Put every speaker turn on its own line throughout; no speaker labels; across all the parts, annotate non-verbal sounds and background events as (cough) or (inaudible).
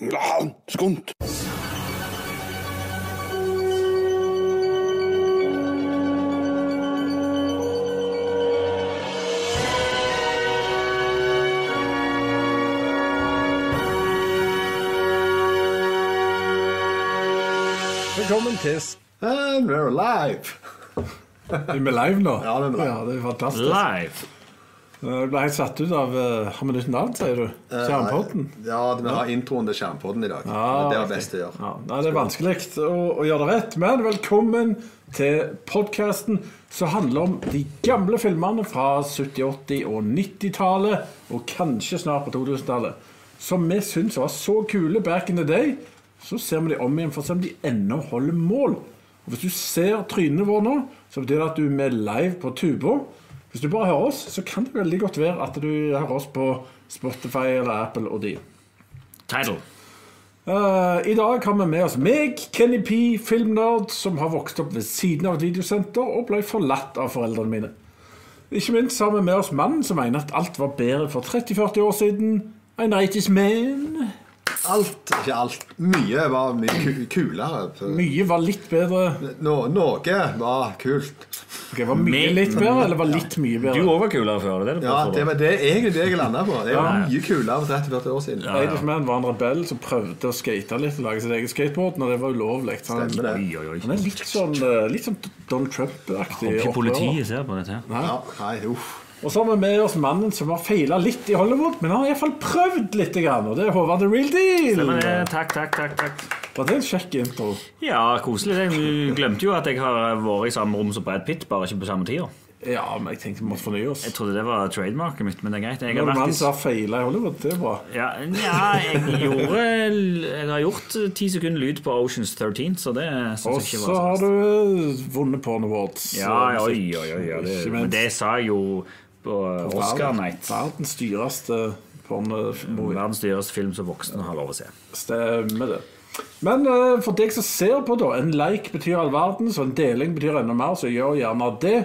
Ja, skunt!
Velkommen til
And we're live!
Er vi live nå?
Ja, det er live.
det er fantastisk.
Live.
Jeg ble helt satt ut av eh, Har vi nytt navn, sier du?
Eh,
Skjermpodden?
Ja, vi har introen til Skjermpodden i dag.
Ah,
det er det beste å gjøre.
Ja, nei, det er vanskelig å, å gjøre det rett, men velkommen til podkasten som handler om de gamle filmene fra 70-, 80- og 90-tallet, og kanskje snart på 2000-tallet, som vi syns var så kule back in the day. Så ser vi de om igjen for å se om de ennå holder mål. Og Hvis du ser trynene våre nå, så betyr det at du er med live på tuba. Hvis du bare hører oss, så kan det veldig godt være at du hører oss på Spotify eller Apple og de.
Title.
Eh, I dag har vi med oss meg, Kenny P, filmnerd, som har vokst opp ved siden av et videosenter og ble forlatt av foreldrene mine. Ikke minst har vi med oss mannen som mener at alt var bedre for 30-40 år siden. An 80's man.
Alt, ikke alt. Mye var mye ku- kulere.
Mye var litt bedre.
Nå, noe var kult.
Ok, var mye
Me-
litt bedre, eller var litt mye
Du
bedre?
òg var kulere før. Det er det
Ja,
bare for
Det
deg.
var det er egentlig det jeg landa på. Det var mye kulere for 30-40 år siden.
Ja, ja.
80's Man var en rebell som prøvde å skate litt og lage sitt eget skateboard når det var ulovlig. så Han,
Stemmer det.
Oi, oi,
han
oi.
er litt sånn, eh, litt sånn Donald Trump-aktig.
Ikke
opprører.
politiet ser på dette. her.
Ja, nei, uff.
Og så har vi med oss mannen som har feila litt i Hollywood, men han har iallfall prøvd litt. Grann, og det er Håvard The Real
Stemmer det.
Deal.
eh, Takk, takk, takk. takk.
Var det en kjekk intro?
Ja, koselig. det. Du glemte jo at jeg har vært i samme rom som Brad Pitt, bare ikke på samme tida.
Ja, men jeg tenkte vi måtte fornye oss.
Jeg trodde det var trademarket mitt, men det er greit. Jeg
Når
har
en mann
vært i
som har feila i Hollywood, det er bra.
ja, ja, jeg gjorde Jeg har gjort ti sekunder lyd på Oceans 13, så det
Og
syns jeg ikke
så
var
har
så verst.
du eh, vunnet Porn Awards.
Ja,
eh,
oi,
musikk,
oi, oi. Ja, det,
ikke minst.
men det sa jeg jo på Oscar Night.
Verdens dyreste porno.
Verdens dyreste film som voksne har lov å se.
Stemmer det. Men eh, for deg som ser på, da. En like betyr all verden, så en deling betyr enda mer, så gjør gjerne det.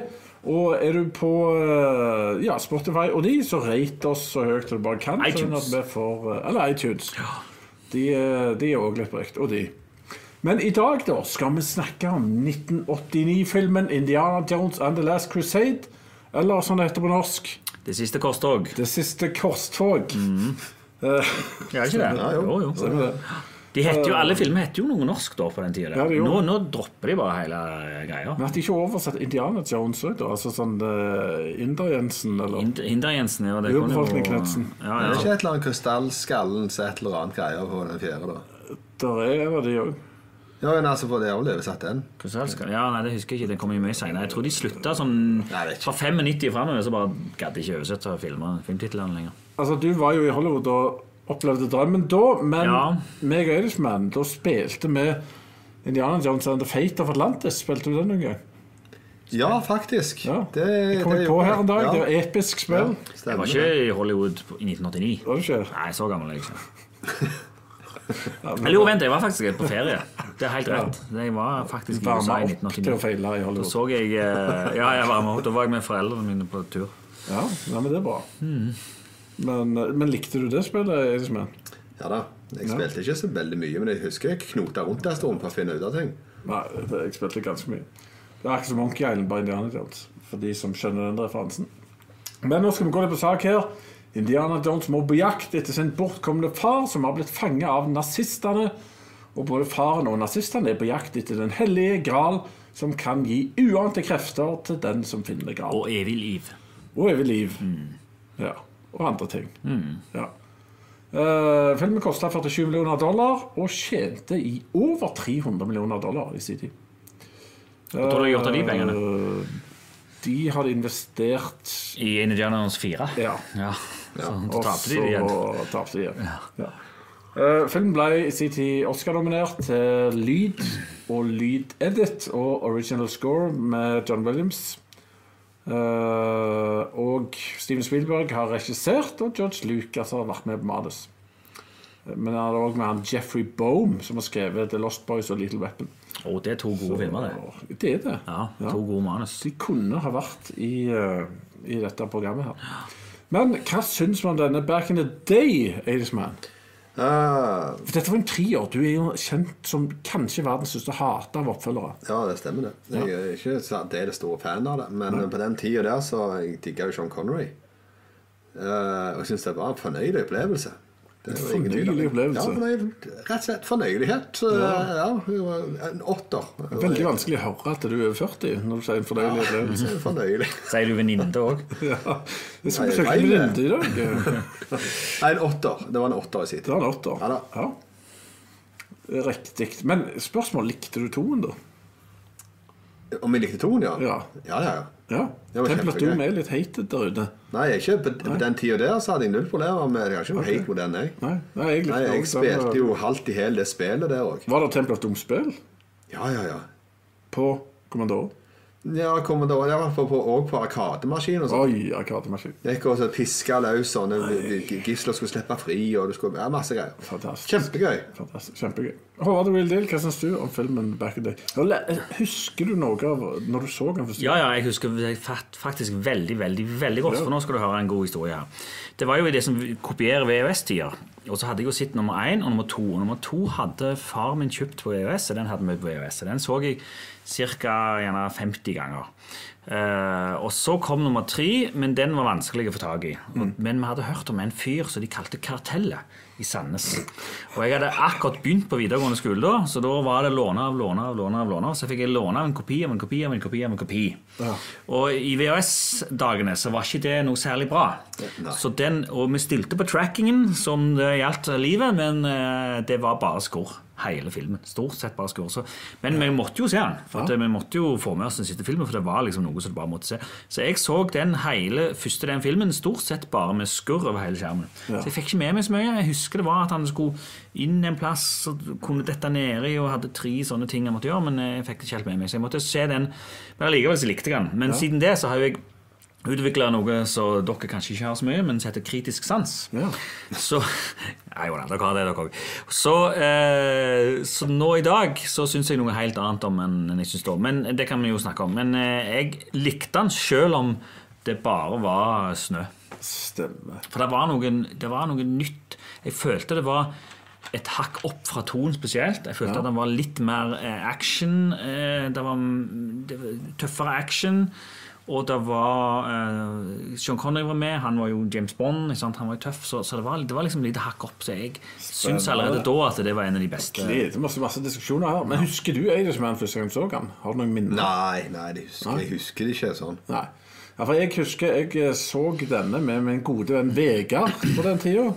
Og er du på eh, ja, Spotify og de, så rate oss så høyt du bare kan. sånn
iTunes.
at vi får, eh, eller iTunes. De, eh, de er òg litt brukt, og de. Men i dag da skal vi snakke om 1989-filmen 'Indiana Jones and the Last Crusade'. Eller som det heter på norsk
Det siste korstog.
'Det siste korstog'. Eh, (laughs)
Ja, ikke det?
Ja, jo.
Jo, jo. De heter jo, alle filmer heter jo noe norsk da på den tida.
Ja, det gjorde
nå, nå dropper de bare hele greia.
Men at de ikke oversatte Indiana Jones òg, da? Altså sånn uh, Inder-Jensen, eller?
Hind- Hinder-Jensen, ja. Det kan jo
Urbefolkning Knudsen.
Ja,
Det er
ja.
ikke et eller annet krystallskallen som et eller annet greier på den fjerde, da.
Der er en av E, de òg.
Ja, men altså, for det har jo levesatt den.
Hvordan helst skal- ja, nei, det husker jeg ikke. Det kom jo mye senere. Jeg tror de slutta sånn
Nei, det er ikke-
fra 95 framover, så bare gadd de ikke oversette filmer- filmtitlene lenger.
Altså, du var jo i Hollywood og opplevde drømmen da, men
Ja.
meg og Irishman, da spilte vi Indiana Jones and the Fate of Atlantis. Spilte du den noen gang?
Ja, faktisk.
Ja.
Det,
jeg kom
det
på
gjorde
her en dag.
Ja.
Det var episk spill.
Ja,
Jeg
stemmer
var
det.
ikke i Hollywood på- i 1989.
Var du ikke?
Nei, så gammel er jeg ikke. Eller jo, vent, jeg var faktisk på ferie. Det er helt rett. Jeg var faktisk i USA
Varma
i
opp til å
1989.
feile i
Da
Hollywood.
så jeg eh, Ja, jeg var med, da var jeg med foreldrene mine på tur.
Ja, ja men det er bra.
Hmm.
Men, eh, men likte du det spillet, Irishman?
Ja da. Jeg spilte ikke så veldig mye, men jeg husker jeg knota rundt en stund for å finne ut av ting.
Nei, det- jeg spilte ganske mye. Det er ikke som Monkey Island bare Indiana Jones. For de som skjønner den referansen. Men nå skal vi gå litt på sak her. Indiana Jones må på jakt etter sin bortkomne far, som har blitt fanget av nazistene. Og både faren og nazistene er på jakt etter Den hellige gral, som kan gi uante krefter til den som finner gralen.
Og evig liv.
Og evig liv. Ja. Og andre ting. Ja. Eh, filmen kosta 47 millioner dollar og tjente i over 300 millioner dollar i sin tid.
Hva tror du de har gjort av de pengene?
Eh, De hadde investert
I Indiana Jones 4?
Ja.
ja. Så
Og
tapte de
så
det igjen.
tapte de igjen. Ja. Eh, filmen ble i sin tid Oscar-nominert til lyd og lydedit og original score med John Williams. Eh, og Steven Spielberg har regissert, og George Lucas har vært med på manus. Men han er òg med han Jeffrey Bohm, som har skrevet The Lost Boys og Little Weapon.
Og det er to gode filmer, det.
Og det er det.
Ja, To gode manus.
De kunne ha vært i, eh, i dette programmet her. Men hva syns man om denne Back in the Day, Aidsman?
Ah,
For dette var en treer. Du er jo kjent som kanskje verdens største hater av oppfølgere.
ja, det stemmer, det. Jeg er ikke særdeles stor fan av det, men på den tida der så jeg digga jo Sean Connery. Eh, og jeg syns det var en fornøyelig opplevelse. Det var ingen tvil om det.
Fornøyelig opplevelse.
Ja, fornøy- rett og slett fornøyelighet. Eh, ja, hun var en åtter.
Veldig vanskelig å høre at du er over 40 når du sier en fornøyelig
(laughs)
opplevelse.
Så Fornøyelig.
Sier du venninne òg?
Ja. Jeg skal
Nei,
besøke
feil,
min
det.
venninne i dag.
Nei, en åtter. Det var en åtter i sin
Det
tid.
er en åtter.
Ja da.
Ja. Riktig. Men spørsmål likte du toen, da?
Om vi likte toen, ja?
Ja.
ja, ja. ja.
Ja.
Det var
Tempelet
kjempegøy.
Doom er litt hated der ute.
Nei, jeg ikke. På, på den tida der så hadde jeg null problemer med Jeg har ikke noe hate mot den, jeg.
Nei, nei, jeg likte
Nei, jeg
også den, eh,
spilte jo halvt i hæl det spillet der òg.
Var det Tempelet Doom-spill
Ja, ja, ja.
på Commandor?
Ja, kom da, jeg var på, på, også på arkademaskin og sånn.
Oi, arkademaskin.
Gikk og så piska løs sånn, sånne gisler skulle slippe fri, og du skulle Ja, masse greier.
Fantastisk.
Kjempegøy.
Fantastisk. Kjempegøy. Håvard Real Deal, hva syns du om filmen Back in the Day? Eller, Husker du noe av når du så den første
Ja, ja, jeg husker det fakt- faktisk veldig, veldig veldig godt. For nå skal du høre en god historie her. Det var jo det som kopierer VHS-tida. Og så hadde jeg jo sett nummer én og nummer to. Og nummer to hadde far min kjøpt på VHS, og den hadde vi på VHS. og Den så jeg ca. 50 ganger. Eh, og så kom nummer tre, men den var vanskelig å få tak i. Og- Men vi hadde hørt om en fyr som de kalte Kartellet i Sandnes. Og jeg hadde akkurat begynt på videregående skole da, så da var det låne av låne av låne. av låne av, Så fikk jeg låne av en kopi av en kopi av en kopi. av en kopi. Og i VHS-dagene så var ikke det noe særlig bra. Så den, og vi stilte på trackingen som det gjaldt livet, men eh, det var bare skurr. Hele filmen. Stort sett bare skurr. Så- Men vi måtte jo se den. For at, eh, vi måtte jo få med oss den siste filmen, for det var liksom noe som du bare måtte se. Så jeg så den hele første den filmen stort sett bare med skurr over hele skjermen. Så jeg fikk ikke med meg så mye. Jeg husker det var at han skulle inn en plass og kunne dette nedi og hadde tre sånne ting jeg måtte gjøre, men eh, jeg fikk det ikke helt med meg. Så jeg måtte se den. Men allikevel så likte jeg den. Men siden det så har jo jeg utvikla noe som dere kanskje ikke har så mye, men som heter kritisk sans.
Ja.
Så (laughs) Nei, jo da, dere har det, dere òg. Så, eh, så nå i dag så syns jeg noe helt annet om enn enn jeg syns da. Men det kan vi jo snakke om. Men eh, jeg likte den sjøl om det bare var snø.
stemme?
For det var, noen, det var noe nytt. Jeg følte det var et hakk opp fra tonen spesielt. Jeg følte at den var litt mer eh, action. Eh, det var mm, det var tøffere action. Og det var eh, Sean Connery var med. Han var jo James Bond. Ikke sant? Han var jo tøff. Så, så det, var, det var liksom lite hakk opp. Så jeg syns allerede da at det var en av de beste.
Gleder masse, masse diskusjoner her. Men husker du Eidish Man første gang du så den? Har du noen minner?
Nei, nei, det husker, jeg husker det ikke sånn.
Nei. Ja, for jeg husker jeg eh, så denne med min gode venn Vegard på den tida.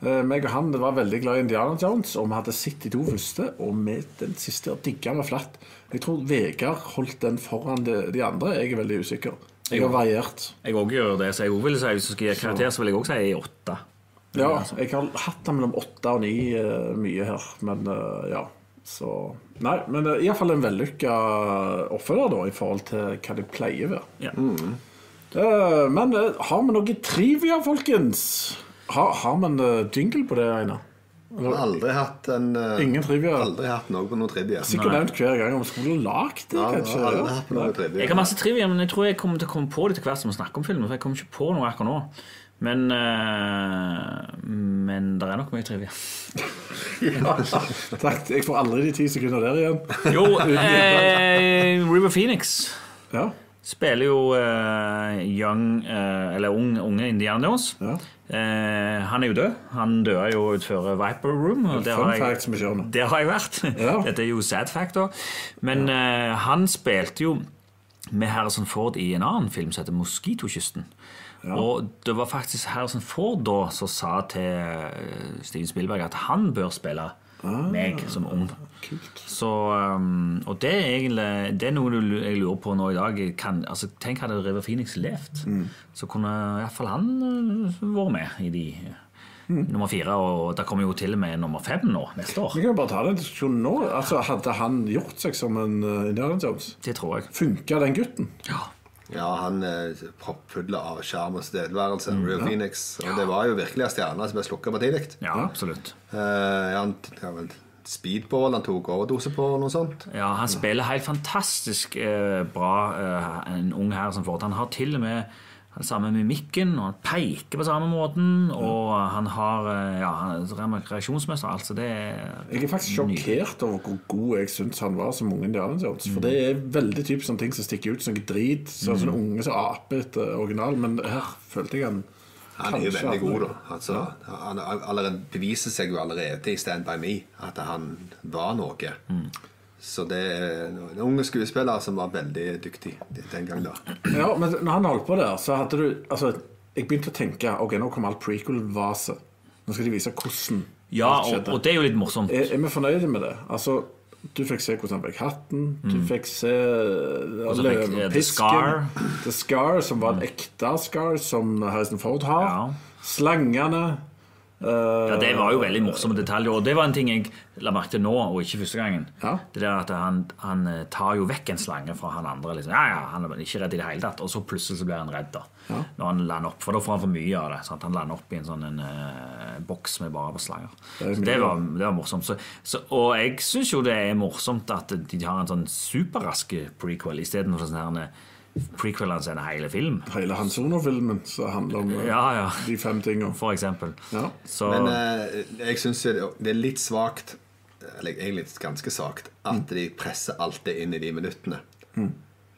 Eh, Meg og han var veldig glad i Indiana Jones, og vi hadde sett de to første. Og med den siste digga vi flatt. Jeg tror Vegard holdt den foran de, de andre. Jeg er veldig usikker. Jeg har variert.
Jeg òg gjør det. Så jeg også vil si, hvis du skal gi karakter, så vil jeg òg si åtte.
Ja, jeg har hatt den mellom åtte og ni eh, mye her, men eh, ja. Så Nei, men eh, i hvert fall en vellykka oppfølger, da, i forhold til hva det pleier å være.
Ja.
Eh, men eh, har vi noe trivia, folkens? Har, har vi en eh, jingle på det, Einar?
Jeg har aldri hatt en eh,
Ingen trivia?
Aldri hatt noe på noe trivia.
Sikkert nevnt hver gang om vi skulle lagd det,
Ja, jeg
kanskje?
har aldri hatt
(laughs)
noe trivia.
Jeg har masse trivia, men jeg tror jeg kommer til å komme på det til hvert som vi snakker om filmen. For jeg kommer ikke på noe akkurat nå. Men, eh, men det er nok mye
(laughs)
trivia.
Takk, jeg får aldri de ti sekunder der igjen.
Jo, (laughs) eh, River Phoenix
Ja,
spiller jo eh, young, eh, eller ung, unge Indiana Jones.
ja.
Eh, han er jo død. Han døde jo utfor Viper Room. Og der
Fun
har jeg-
fact som vi kjører nå.
Der har (laughs) jeg vært.
Ja.
Dette er jo sad fact, da. Men eh, han spilte jo med Harrison Ford i en annen film som heter 'Moskitokysten'. Og det var faktisk Harrison Ford da som sa til eh, Steven Spielberg at han bør spille meg som ung. Så, um, og det er egentlig Det er noe du lu- jeg lurer på nå i dag. Kan, altså, tenk hadde River Phoenix levd, så kunne iallfall han uh, vært med i de nummer fire. Og det kommer jo til og med nummer fem nå neste år.
Vi kan jo bare ta den diskusjonen nå. Altså, Hadde han gjort seg som en eh, Indiana Jones?
Det tror jeg.
Funka den gutten?
Ja.
Ja, han er proppfull av sjarm og tilstedeværelse. Real Phoenix. Og det var jo virkelig en stjerne som ble slukka for tidlig.
ja, absolutt.
Eh, han, ja, vel, speedball han tok overdose på, og noe sånt.
Ja, Han spiller helt fantastisk eh, bra, eh, en ung herre som Ford. Han har til og med Den samme mimikken, og han peker på samme måten. Og han har eh, ja, han er reaksjonsmønster. Altså, det er
Jeg er faktisk sjokkert over hvor god jeg syns han var som unge Indiana Jones.
Mm.
For det er veldig typisk sånne ting som stikker ut som noe drit. Sånn som unge som aper etter original. Men her følte jeg han
Han er jo
kanskje
veldig
hadde-
god, da. Altså, han han allerede beviser seg jo allerede i Stand By Me at han var noe.
Mm.
Så det er en unge skuespiller som var veldig dyktig den gang, da.
Ja, men når han holdt på der, så hadde du Altså, jeg begynte å tenke Ok, nå kommer alt prequel-vase. Nå skal de vise hvordan
Ja,
alt
og, og det er jo litt morsomt.
Er, er vi fornøyde med det? Altså, du fikk se hvordan han fikk hatten. Du fikk se uh,
Mm. så fikk, eh,
løvepisken.
The Scar. Mm.
The Scar, som var en ekte Scar, som Harrison Ford har. eh,
Ja.
Slangene.
Ja, Det var jo veldig morsomme detaljer. Og det var en ting jeg la merke til nå, og ikke første gangen.
Ja.
Det der at han, han eh, tar jo vekk en slange fra han andre. Liksom. Ja, ja, han er ikke redd i det hele tatt. Og så plutselig så blir han redd, da. Når han lander opp, For da får han for mye av det. Sant? Han lander opp i en sånn en, eh, boks med bare på slanger.
Det er
Så
mye,
det, var, det var morsomt. Så, så, og jeg syns jo det er morsomt at de har en sånn superrask prequel istedenfor sånn her prequel som er en hel film,
Hele Hans Ono-filmen som handler om eh,
Ja, ja.
de fem tingene.
for eksempel.
Ja.
Så,
Men eh, jeg syns det det er litt svakt, eller egentlig ganske svakt, at de presser alt det inn i de minuttene.
Mm.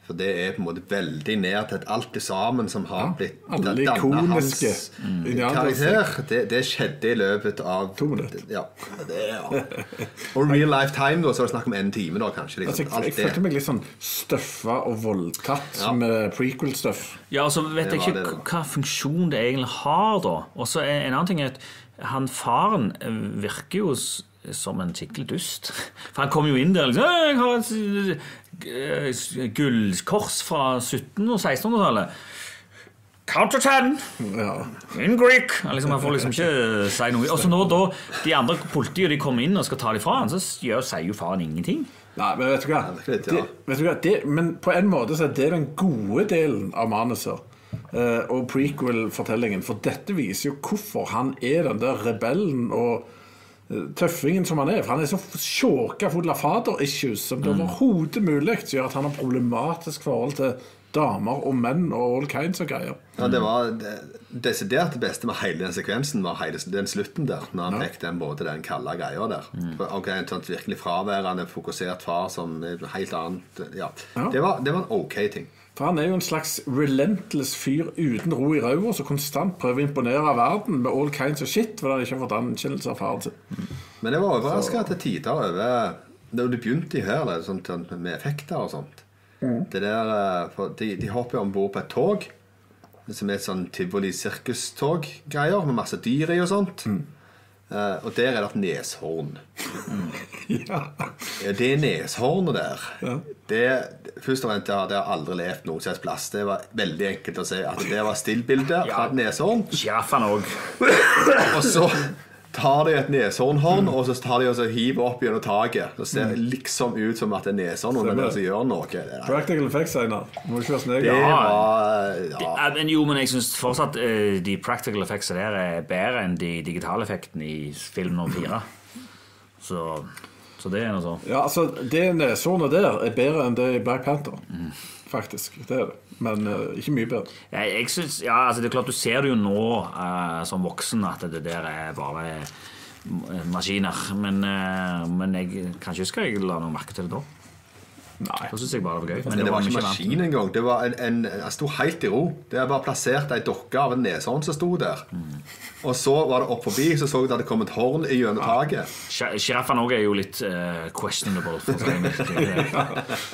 For det er på en måte veldig ned til at alt det sammen som har blitt
alle
dannet
ikoniske
hans mm,
indianerdanser.
karakter, det, det skjedde i løpet av
To minutter.
Ja, det, er- ja. Og real life time, da, så er det snakk om en time, da, kanskje.
Altså, jeg,
Liksom.
jeg
Alt
følte
det.
meg litt sånn støffa og voldtatt med prequel-stuff.
Ja, og så vet
Det var
jeg ikke
det,
hva
da.
hva funksjon det egentlig har, da. Og så er en annen ting er at han faren eh, virker jo s- som en skikkelig dust. (laughs) For han kom jo inn der liksom «Å, 'Jeg har et eh, s- gullkors fra 1700- og 1600-tallet'. Counter 10!
Ja.
In Greek! Han liksom, han får liksom ikke si noe. Og så når da de andre politiet de kommer inn og skal ta dem fra han, så gjør, sier jo faren ingenting.
Nei, men vet du hva?
det er litt, ja.
det, vet du hva? Det, men på en måte så er det den gode delen av manuset. eh, og prequel-fortellingen. For dette viser jo hvorfor han er den der rebellen og eh, tøffingen som han er. For han er så sjåka full av fader-issues som det overhodet mulig som gjør at han har problematisk forhold til damer og menn og all kinds av greier.
Ja, det var det desidert det beste med hele den sekvensen, var hele den slutten der. Når han fikk den både den kalde greia der. For, ok, En sånn virkelig fraværende, fokusert far som er helt annet Ja.
Ja.
Det, var, det var en ok ting.
For han er jo en slags relentless fyr uten ro i ræva som konstant prøver å imponere verden med all kinds of shit fordi han ikke har fått anerkjennelse av faren sin.
Men jeg var overraska til tider over Da det begynte her, det, sånt, sånt med effekter og sånt Det der, eh, for de, de hopper jo om bord på et tog, som er et sånn tivoli-sirkustog-greier, med masse dyr i og sånt. Eh, og der er det et neshorn.
Ja.
Ja, Det neshornet der det, Først og fremst, det har det har aldri levd noe som helst plass. Det var veldig enkelt å si at det var stillbilde fra et neshorn.
Sjiraffen òg.
Og så tar de et neshornhorn og så tar de og så hiver opp gjennom taket. Det ser liksom ut som at det er neshorn under
Stemmer.
der som gjør noe. Det,
Practical effects, Einar. Må ikke være sneger.
det
Ja.
var ja.
Ja, men jo, men jeg syns fortsatt eh, de practical effects der er bedre enn de digitale effektene i film nummer fire. Så, så det er noe sånn.
Ja, altså, det neshornet der er bedre enn det i Black Panther. Faktisk. Det er det. Men eh, ikke mye bedre.
Jeg, jeg synes, ja, altså det er klart Du ser det jo nå eh, som voksen at det der er bare eh, maskiner. Men, eh, men jeg kan ikke huske jeg la noe merke til det da.
Nei.
Da syns jeg bare det var gøy.
Men det var ikke
mye annet.
maskin engang. Det var en, en, jeg sto helt i ro. Det var plassert ei dokke av en neshorn som sto der. Og så var det opp forbi, så så jeg at det kom et horn i gjennom taket.
Sj- Sjiraffen òg er jo litt eh, questionable. For å si det
(laughs)
(laughs)
mildt.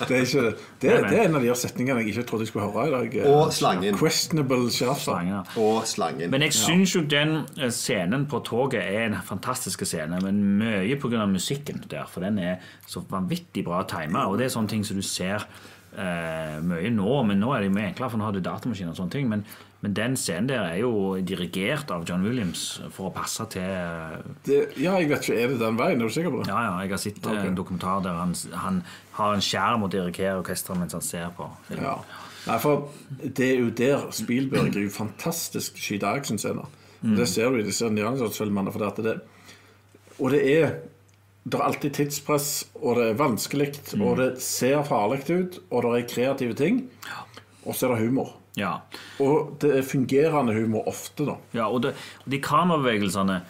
Det er, ikke, det, er- det er en av de her setningene jeg ikke trodde jeg skulle høre i dag. eh,
Og slangen.
Questionable sjiraffer.
Poenget, da.
Og slangen.
Men jeg syns jo den eh, scenen på toget er en fantastisk scene, men mye pga. musikken der. For den er så vanvittig bra timet, og det er sånne ting som du ser eh, mye nå. Men nå er det jo mye enklere, for nå har du datamaskiner og sånne ting. Men, men den scenen der er jo dirigert av John Williams for å passe til eh,
Det, ja, jeg vet ikke. Er det den veien? Er du sikker på det?
Ja, ja, jeg har sett eh, en dokumentar der han, han har en skjerm og dirigerer orkesteret mens han ser på film.
Ja. Nei, for det er jo der Spielberg driver fantastisk skyte actionscener.
Mm.
Det ser du i disse nyansersfilmene. For det at det, og det er Det er alltid
Mm.
tidspress, og det er vanskelig, og det ser farlig ut, og det er kreative ting. Og så er det humor.
Ja.
Og det er fungerende humor ofte, da.
Ja, og, det, og de kamerabevegelsene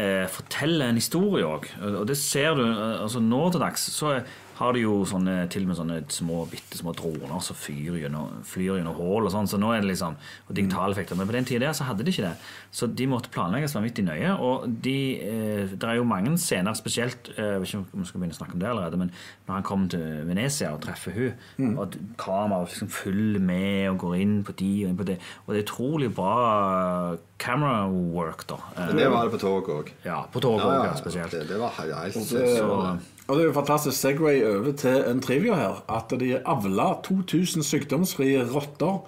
eh, forteller en historie òg. Og det ser du eh, altså Nå til dags så har de jo sånne, til og med sånne små, bitte små droner som fyr gjennom- flyr gjennom hull og sånn. Så nå er det liksom og digitale effekter. Men på den tida der så hadde de ikke det. Så de måtte planlegges vanvittig nøye. Og de, eh, det er jo mange scener, spesielt eh, Jeg vet ikke om vi skal begynne å snakke om det allerede, men når han kommer til Venezia og treffer hun,
Mm.
og at kameraet liksom følger med og går inn på de og inn på det. Og det er utrolig bra camera work, da. Eh,
Men det var det på toget òg.
ja, på toget ja, spesielt.
Det, det var he- helt
Så-
Og det er jo fantastisk Segway over til en trivia her. At de avla 2000 sykdomsfrie rotter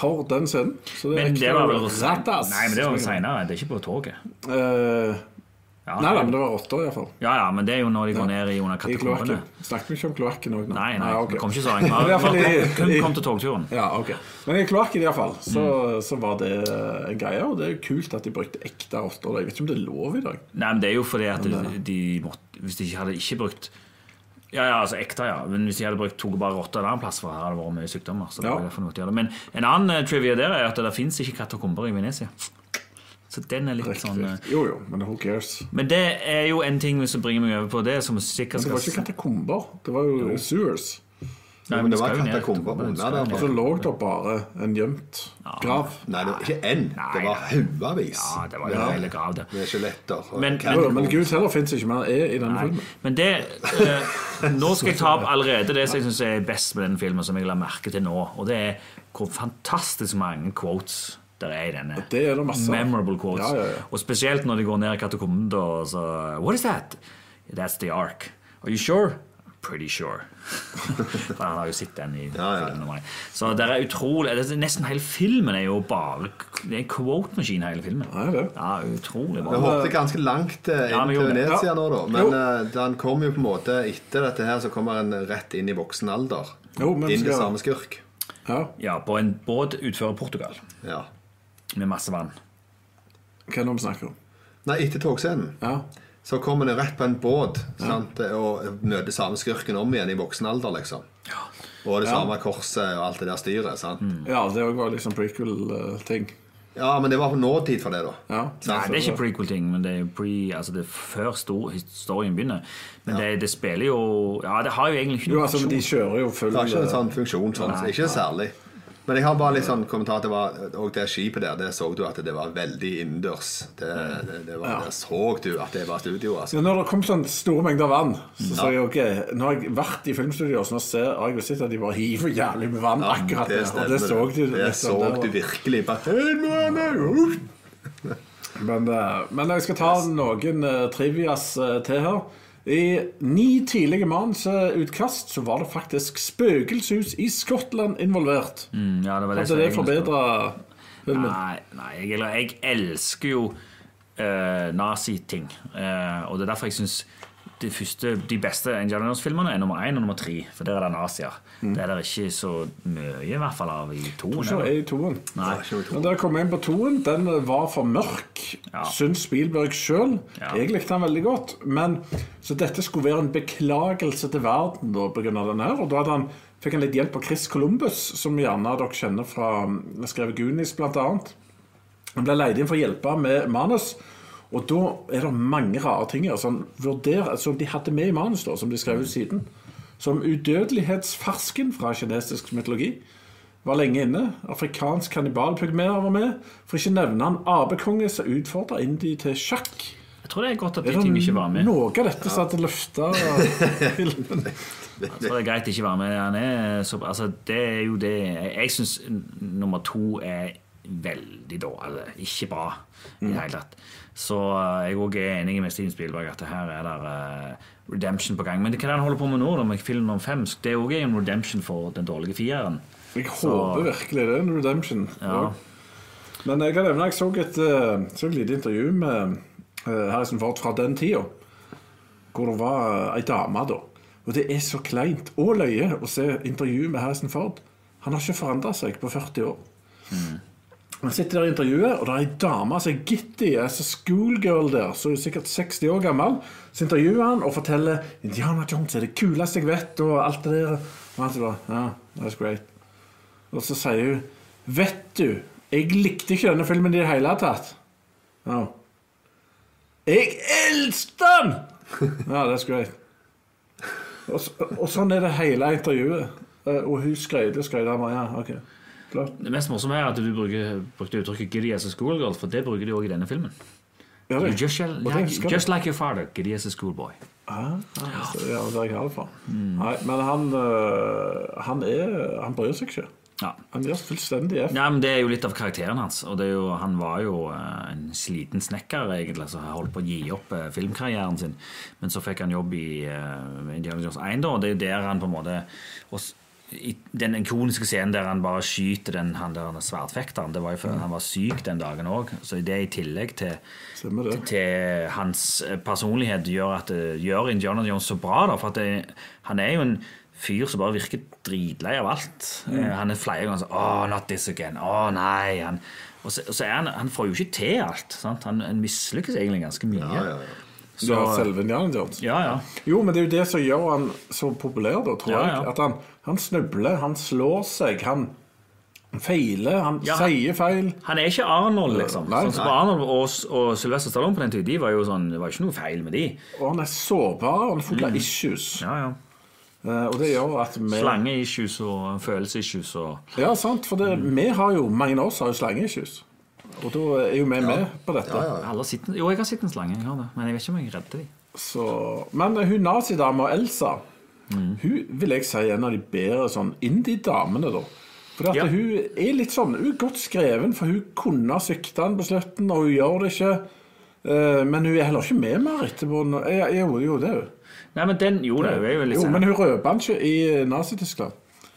for den scenen. Så det er
Men det
ekte
var vel
rattas.
Nei, men det var vel senere. Det er ikke på toget.
Eh,
Ja,
Nei da, men det var rotter, iallfall.
ja, ja, men det er jo når de går ned i under
I
katakombene.
kloakken. Snakket vi ikke om kloakken òg?
Nei, nei,
ok.
vi kom ikke så
(laughs)
langt.
Men i hvert fall
Vi
i-
har kun
i-
kom til Mm. togturen.
Ja, ok. Men i kloakken, iallfall, så, så var det eh, en greie. Og det er jo kult at de brukte ekte rotter. Jeg vet ikke om det er lov i dag.
Nei, men det er jo fordi at de måtte Hvis de ikke hadde ikke brukt Ja, ja, altså ekte, ja. Men hvis de hadde brukt tok og bare rotter en annen plass, for her hadde det vært mye sykdommer. Så det
Ja.
var derfor de måtte gjøre det. Men en annen eh, trivia der er at det fins ikke katakomber i Venezia. Så den er litt sånn eh,
Jo jo, men who cares?
Men det er jo en ting som bringer meg over på det, som sikkert
Men det
skal
var ikke katakomber. Det var jo sewers.
Nei,
Men
de
det var
skal jo ned i
katakomber
katakombene, de
under
skal
der,
jo
Så
ned.
lå det bare en gjemt grav.
Nei, det var ikke én. Det
Nei,
var
nei.
haugevis.
Ja, det var jo hele grav, det.
Med skjeletter. og
Men-
Jo,
catwalks.
men Gud heller fins ikke mer er i denne filmen.
Men det eh, Nå skal jeg ta opp allerede det som jeg syns er best med den filmen, som jeg la merke til nå. Og det er hvor fantastisk mange quotes der er i denne.
Det er det masse av.
Memorable quotes.
Ja, ja, ja.
Og spesielt når de går ned i katakomben, da, og så What is that? That's the ark. Are you sure? Pretty sure. (laughs) For han har jo sett den i
Ja, ja, ja.
filmen. om meg. Så det er utrolig det er Nesten hele filmen er jo bare Det er en quote-maskin, hele filmen.
Ja, det er det.
Ja, utrolig
Vi
bra.
hoppet ganske langt eh,
Ja,
inn
vi
til
gjorde det.
Venezia
Ja.
nå, da.
Jo.
Men eh, han kom jo på en måte etter dette her, så kommer han rett inn i voksen alder.
Jo, men
inn til
skal-
samme skurk.
Ja.
Ja, på en båt utfører Portugal
Ja.
med masse vann.
Hva er det vi snakker om?
Nei, etter togscenen.
Ja.
Så kommer han rett på en båt sant, eh, og møter samme skurken om igjen i voksen alder, liksom. Og det samme korset og alt det der styret. sant?
Mm.
ja, det òg var liksom prequel-ting.
Ja, men det var på nåtid for det, da.
Ja.
Nei, det er ikke
prequel.
prequel-ting, men det er, pre, altså det er før stor, historien begynner. Men det, det spiller jo Ja, det har jo egentlig ikke
Jo,
noe
altså, men de kjører jo full eh,
Det har ikke en sånn funksjon sånn,
Nei.
ikke særlig. Men jeg har bare litt sånn kommentar til hva- og det skipet der, det så du at det var veldig innendørs. Det, det, det var, Der så du at det var studio, altså.
Ja, når det kom sånn store mengder vann, så sa jeg ok, nå har jeg vært i filmstudio, så nå ser har jeg jo sett at de bare hiver jævlig med vann akkurat der. Og det så du.
det
liksom
så
der,
du
og-
virkelig. Bare, «Hei, nå er det ut!»
Men, eh, men jeg skal ta noen eh, trivias eh, til her. I ni tidlige manusutkast så var det faktisk spøkelshus i Skottland involvert.
Mm, ja, det var det
Hadde Altså,
som
det
egentlig skulle-
forbedra filmen?
Nei, nei jeg, eller, jeg elsker jo eh, naziting. Eh, og det er derfor jeg syns de, første, de beste Indiana Jones-filmene er nummer én og nummer tre. For der er det nazier. Det er det ikke så mye, i hvert fall, av i toen.
Ikke
eller?
i toen.
Nei.
Men da kom jeg inn på toen. Den var for mørk,
Ja.
syns Spielberg sjøl.
Ja.
Jeg likte den veldig godt. Men, så dette skulle være en beklagelse til verden da, på grunn av den her. Og da hadde han, fikk han litt hjelp av Chris Columbus, som gjerne dere kjenner fra mm, skrevet Goonies, blant annet. Han ble leid inn for å hjelpe med manus. Og da er det mange rare ting her som, vurderer, som de hadde med i manus, da, som de skrev ut siden. Som udødelighetsfarsken fra kinesisk mytologi var lenge inne. Afrikansk kannibalpygmeer var med. For ikke nevne han apekonge som utfordra Indi til sjakk.
Jeg tror det er godt at
Er
de
det
tingene ikke var med.
noe av dette som hadde løfta filmen?
Så det er greit å ikke være med. Han er så, altså, det er jo det Jeg syns nummer to er veldig dårlig. Altså, Ikke bra i det hele tatt. Så eh, jeg også er enig med Steven Spielberg at det her er der eh, redemption på gang. Men hva er det han holder på med nå, da, med film om fem? Det er også en redemption for den dårlige fireren.
Jeg håper virkelig det er en redemption.
Ja.
Men jeg kan nevne jeg så et, eh, så et lite intervju med eh, Harrison Ford fra den tida, hvor det var eh, ei dame da. Og det er så kleint og løye å se intervju med Harrison Ford. Han har ikke forandra seg på 40 år. Han sitter der i intervjuet, og det er ei dame som er Gitti, altså schoolgirl der, som er sikkert 60 år gammel. Så intervjuer han og forteller Indiana Jones er det kuleste jeg vet, og alt det der. Og han sier bare Ja, that's great. Og så sier hun Vet du, jeg likte ikke denne filmen i det hele tatt. Ja. Jeg elsket
(laughs)
den! Ja, that's great. Og, så, og sånn er det hele intervjuet. Eh, Og hun skrøyter, skrøyter. han bare, Ja, OK. Klart.
Det mest morsomme er at du bruker, brukte uttrykket 'giddy as a schoolgirl', for det bruker de òg i denne filmen.
Ja,
You
det.
just, shall,
Og det husker
like,
jeg.
just like your father, giddy as a schoolboy.
Ah, altså, ja, det er jeg glad for.
Mm.
Nei, men han, eh, han er Han bryr seg ikke.
Ja.
Han gjør fullstendig F.
Nei, men Det er jo litt av karakteren hans. og det er jo, Han var jo eh, en sliten snekker egentlig, som holdt på å gi opp eh, filmkarrieren sin. Men så fikk han jobb i eh, Indiana Jones 1, da, og det er jo der han på en måte og, s- i Den ikoniske scenen der han bare skyter den, han der sverdfekteren, det var jo før
Mm.
han var syk den dagen òg. Så det i tillegg til
Stemmer det.
til hans eh, personlighet gjør, at, eh, gjør Indiana Jones så bra. Da, for at det, han er jo en fyr som bare virker dritlei av alt. Eh, Han er flere ganger sånn Oh, not this again. Å nei. Han, og så, og så er han, han får jo ikke til alt. Sant? Han, han mislykkes egentlig ganske mye.
Ja, ja, ja.
Du har selve Indiana Jones.
ja, ja.
Jo, men det er jo det som gjør han så populær, da, tror
Ja,
jeg.
ja.
At han, han snubler, han slår seg, han feiler, han
Ja, han-
sier feil.
Han er ikke Arnold, liksom.
Nei,
sånn som
nei.
Arnold og, og Sylvester Stallone på den tid, de var jo sånn, det var jo ikke noe feil med de.
Og han er sårbar, og han får mm. issues.
Ja, ja.
Eh, Og det gjør at vi
Slangeissues og følelsesissues og
Ja, sant, for det,
Mm.
vi har jo, mange av oss har jo slangeissues. Og da er jo vi med på dette.
Ja, ja.
Alle har sett en- Jo, jeg har sett en slange, jeg har det. men jeg vet ikke om jeg redder de.
Så, men hun nazidama Elsa, hun vil jeg si er en av de bedre sånn indie-damene, da. For at
Ja.
hun er litt sånn Hun er godt skreven, for hun kunne sikte den på slutten, og hun gjør det ikke. Eh, Men hun er heller ikke med mer etterpå. nå. Ja, Jo, jo, det er hun.
Nei, men den Jo, det er jo litt
Jo,
sånn-
men hun røper han ikke i Nazi-Tyskland.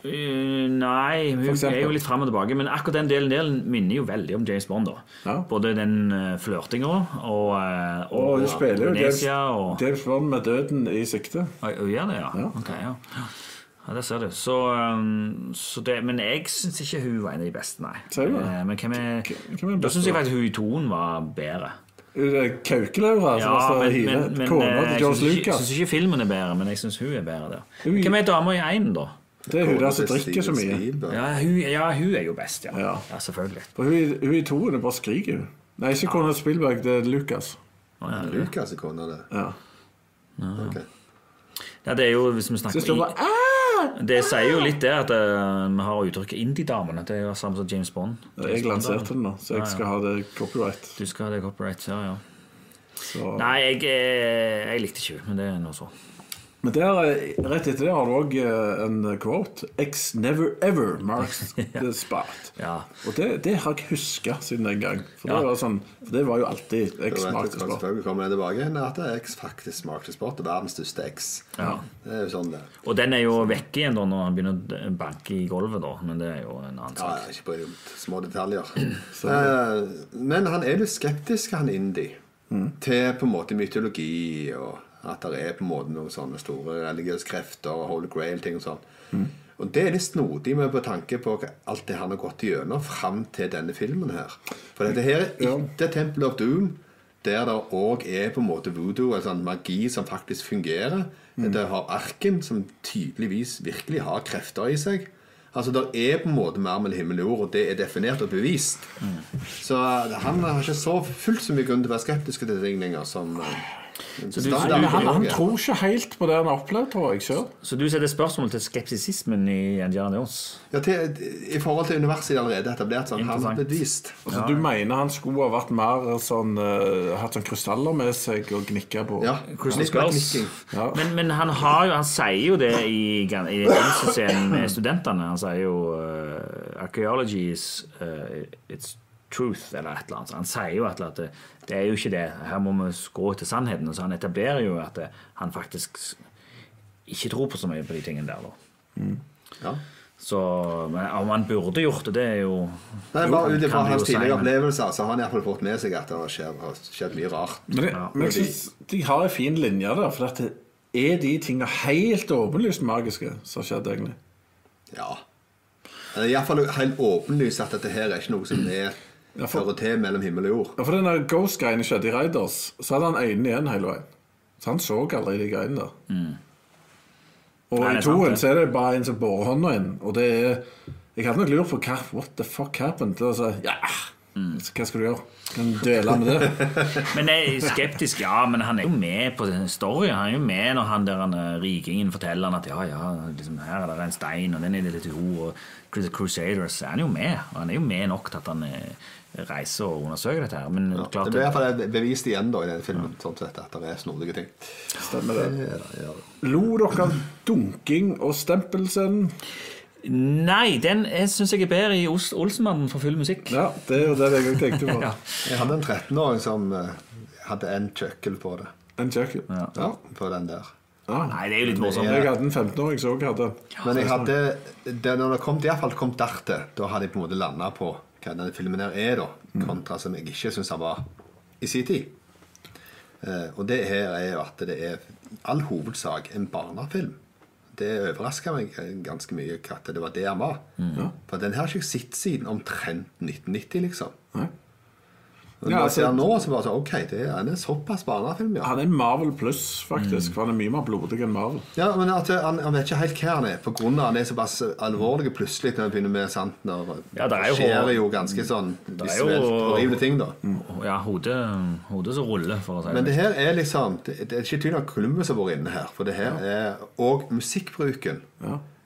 Eh, Nei, hun
eksempel.
er jo litt frem og tilbake. Men akkurat den delen, delen minner jo veldig om James Bond. da
Ja.
Både den uh, flørtinga og, eh, og,
Og hun spiller jo James,
Indonesia og
James Bond med døden i sikte.
Oi, Hun gjør det, ja? Ok, ja. ja der ser du. Så, eh, så det, men jeg syns ikke hun var en av de beste, nei.
Ser du det?
Eh, men hvem er,
Hvem er den
Da
beste,
syns jeg
da?
faktisk hun i toen var bedre.
Kaukelaura, som altså
men,
hiver
men, men, eh,
kona til
jeg
George
syns ikke, jeg
Lucas.
synes ikke filmen er bedre, men jeg syns hun er bedre der.
Hun-
Hvem er dama i én, da?
Det er hun der som
Kona til
drikker
Steven
så mye.
Spielberg.
Ja hun, ja, hun er jo best, ja.
Ja.
ja selvfølgelig.
For hun, i- hun i toen er bare skriker. hun. Nei, ikke kona til Spielberg, det er Lucas.
Å, ja.
Lucas er altså, kona, det.
Ja.
Ok.
Ja, det er jo, hvis vi
Det står
snakker
bare «Ah!»
Det sier jo litt det at eh, vi har uttrykket indie-damene. Det er jo samme som James Bond.
Jeg lanserte den nå, så
Ja,
jeg
ja.
skal ha det copyright.
Du skal ha det copyright, ja, ja.
Så.
Nei, jeg, eh, jeg likte ikke hun, men det er noe så.
Men der, eh, rett etter det har du òg en quote. X never ever
(laughs)
marks the spot.
Ja.
Og det, det har jeg huska siden den gang. For,
Ja.
det var sånn, for det var jo alltid
Da
X
vet
marks
du
the
hva
spot.
Selvfølgelig kommer det tilbake igjen at det er X faktisk smakte sport. Og verdens største X. Det er jo sånn det er.
Og den er jo vekke igjen da når han begynner å banke i gulvet, da. Men det er jo en annen
Ja,
sak.
ja, ikke bry deg om små detaljer. Eh, men han er litt skeptisk, han indie, til på en måte mytologi og at det er på en måte noen sånne store religiøse krefter og Holy Grail-ting og sånn. Og det er litt snodig med på tanke på alt det han har gått igjennom fram til denne filmen her. For dette her er
Ja.
etter Temple of Doom, der det òg er på en måte voodoo, en sånn magi som faktisk fungerer.
Mm.
Det har arken, som tydeligvis virkelig har krefter i seg. Altså, Det er på en måte mer mellom himmel og jord, og det er definert og bevist.
Mm.
Så eh, han har ikke så fullt så mye grunn til å være skeptisk til ting lenger som eh,
Så du-
Men Han, han tror ikke helt på det han har opplevd, tror jeg sjøl.
Så du setter spørsmål til skepsisismen i Indiana Jones?
ja, til, I forhold til universet allerede etablert, sånn, han har
Interessant.
bevist.
Altså, Du mener han skulle ha vært mer sånn eh, hatt sånn krystaller med seg og gnikka på?
Ja,
Crystal
litt mer
Skulls.
knikking.
Ja.
Men, men han, har jo, han sier jo det i, gan- i scenen med studentene. Han sier jo eh, 'Archaeology is eh, its truth', eller et eller annet. Så Han sier jo et eller annet at uh, det, det er jo ikke det. Her må vi gå til sannheten. Så han etablerer jo at eh, han faktisk s- ikke tror på så mye på de tingene der, da.
Ja.
Så men Om han burde gjort det, det er jo
Nei,
jo,
bare
han
ut ifra
kan jo
hans
si,
tidligere
men-
opplevelser så har han iallfall fått med seg at det har skjedd, har skjedd mye rart.
Men, det,
Ja.
men jeg synes de har en fin linje der, for at det er de tinga helt åpenlyst magiske som har skjedd, egentlig?
Ja. Eh, Det er iallfall helt åpenlyst at dette her er ikke noe som er
for-
hører til mellom himmel og jord.
Ja, For den der Ghost-greiene skjedde i Raiders, så hadde han øynene igjen hele veien. Så han så aldri de greiene der. Og
Nei, det
i
er sant,
toen
Mm. det.
så er det bare en som borer hånda inn, og det er Jeg hadde nok lurt på hva What the fuck happened? Altså, ja,
Mm.
så hva skal du gjøre? Kan du dvele med det?
(laughs) Men jeg er skeptisk, ja. Men han er jo med på den storyen. Han er jo med når han der han, eh, rikingen forteller han at ja, ja, liksom, her er det en stein, og den er det litt ord, og Cru- Crusaders er Han er jo med. Og han er jo med nok til at han eh, reiser og undersøker dette her. Men
Det
klart
ble i hvert fall bevist igjen da i den filmen sånn sett, at det er snodige ting.
Stemmer det.
Ja, da, ja. da.
Lo dere av dunking og stempelscenen?
Nei, den syns jeg er bedre i Os- Olsenmannen for full musikk.
Ja, det er jo det jeg også tenkte på.
(laughs) Ja.
Jeg hadde en 13-åring som eh, hadde en kjøkkel på det.
En kjøkken. Ja.
Ja, på den der.
Nei, det er jo litt morsomt.
Jeg hadde en 15-åring som også hadde
Men jeg hadde, det, når det kom, i hvert fall kom dertil, da hadde jeg på en måte landa på hva denne filmen her er, da, kontra som jeg ikke syns han var i sin tid. Eh, og det her er jo at det er i all hovedsak en barnefilm. Det overraska meg eh, ganske mye at det var det han var. For den her har ikke jeg sett siden omtrent 1990, liksom.
Nei.
Og når
Ja,
jeg ser
altså-
den nå, så bare sånn OK, det er en såpass barnefilm, ja.
Han er Marvel pluss, faktisk. For han er mye mer blodig enn Marvel.
Ja, men at han, han vet ikke helt hva han er, på grunn av han er såpass alvorlig plutselig når han begynner med sant, når
Ja, det er jo-
skjer det jo ganske sånn
er
visuelt
jo- Mm.
horrible ting, da.
Ja, hodet, hodet som ruller, for å si
Men
det.
det her er liksom Det, det er ikke tydelig at Columbus har vært inne her, for det her er Og musikkbruken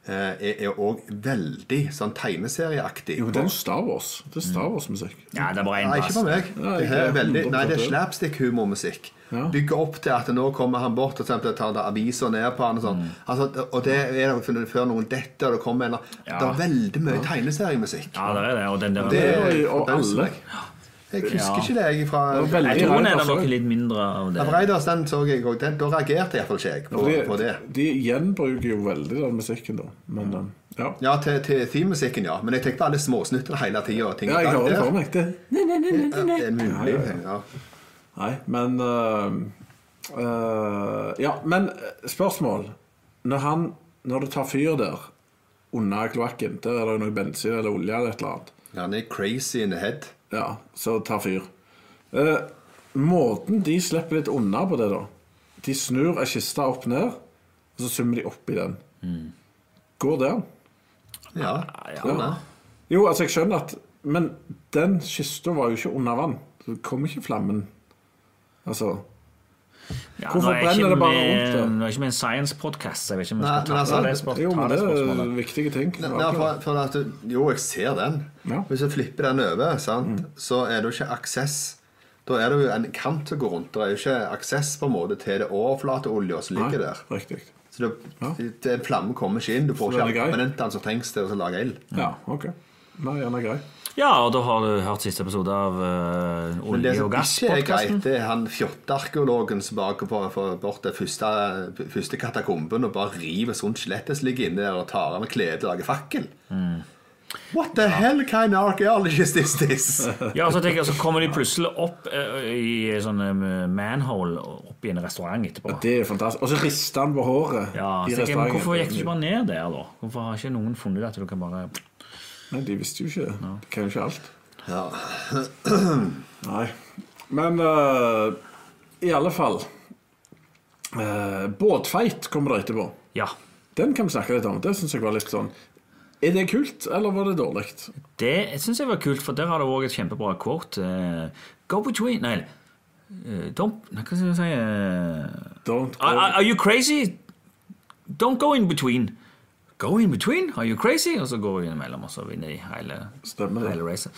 eh, er er òg veldig sånn tegneserieaktig.
Jo, men det er jo Star Wars. Det er Star Wars-musikk.
Ja, det er bare
Nei,
én
ikke for
plass.
meg.
Nei,
Det her er
ikke.
veldig, nei, det er slapstick-humormusikk.
Ja.
Bygger opp til at nå kommer han bort og eksempel, tar det aviser ned på han og sånn. Altså, og det er jo funnet før noen detter, og det kommer en
Ja.
Det er veldig mye tegneseriemusikk.
Ja, det er det. Og den der
Det er
og
forbauser
alle.
meg. Jeg husker ikke det, jeg fra
Det var veldig-
Jeg tror den er
Ja,
der
for-
nok litt mindre av det.
Ja, for Reidars, den så jeg òg. Da reagerte iallfall ikke jeg på,
De,
på det.
de gjenbruker jo veldig den musikken, da. Men um, ja.
Ja, til, til thememusikken, ja. Men jeg tenkte på alle småsnuttene hele tida.
ja, jeg hører det for meg. Det
Det er mulig. Ja.
Nei, men øh, øh, Ja, men spørsmål. Når, han, når det tar fyr der, under kloakken, der er det jo noe bensin eller olje eller et eller annet,
Ja, Han er crazy in the head.
ja, så tar fyr. Eh, måten de slipper litt unna på det, da De snur ei kiste opp ned, og så summer de oppi den.
Mm.
Går det an?
Ja.
ja.
Tror det.
Jo, altså, jeg skjønner at Men den kista var jo ikke under vann. Så kom ikke flammen. Altså
Ja,
Hvorfor
nå er jeg ikke
brenner det bare
med-
rundt det?
Nå er jeg ikke med en science-podkast, så jeg vet ikke om
Nei,
jeg skal
men
ta
altså-
det spørsmålet.
Jo, men det er
spørsmålet.
viktige ting.
Ja, for, for at du, jo, jeg ser den.
Ja. Mm.
Hvis du flipper den over, sant, så er det jo ikke aksess. Da er det jo en kant som går rundt. Det er jo ikke aksess på en måte til det overflateolja som ligger der.
Riktig.
Så det,
Ja.
det- det, flammen kommer ikke inn. Du får
Så den er
ikke
grei.
permanenten som trengs til å lage ild.
Ja, ok. Nei, den er grei.
Ja, og da har du hørt siste episode av eh,
Men det
Olje-
som
og
ikke er greit,
gass-podkasten.
det er han fjottearkeologen som bare går på- for- bort til første, første katakomben og bare river sånt skjelettet som ligger inne der, og tar av med kledet og lager fakkel.
Mm.
What the hell kind of archaeologist is
(laughs)
this?
Ja, og så tenker jeg, så kommer de plutselig opp eh, i sånn eh, manhole opp i en restaurant etterpå.
Det er fantastisk. Og så rister han på håret.
Ja,
i
så tenker jeg, men
restauranten.
Hvorfor gikk du ikke bare ned der, da? Hvorfor har ikke noen funnet at du kan bare
Nei, De visste jo ikke det. De kan jo ikke alt.
Ja.
Nei. Men øh, i alle fall øh, Båtfeit kommer det etterpå.
Ja.
Den kan vi snakke litt om. Det syns jeg var litt sånn Er det kult, eller var det dårlig?
Det syns jeg var kult, for der har du òg et kjempebra quote. eh, Go between Nei, eh, don't nei, Hva skal jeg si? eh,
Don't
Are, are,
go
are you crazy? Don't go in between. Go in between? Are you crazy? Og så går vi innimellom, og så vinner de hele,
Stemmer det.
hele racet.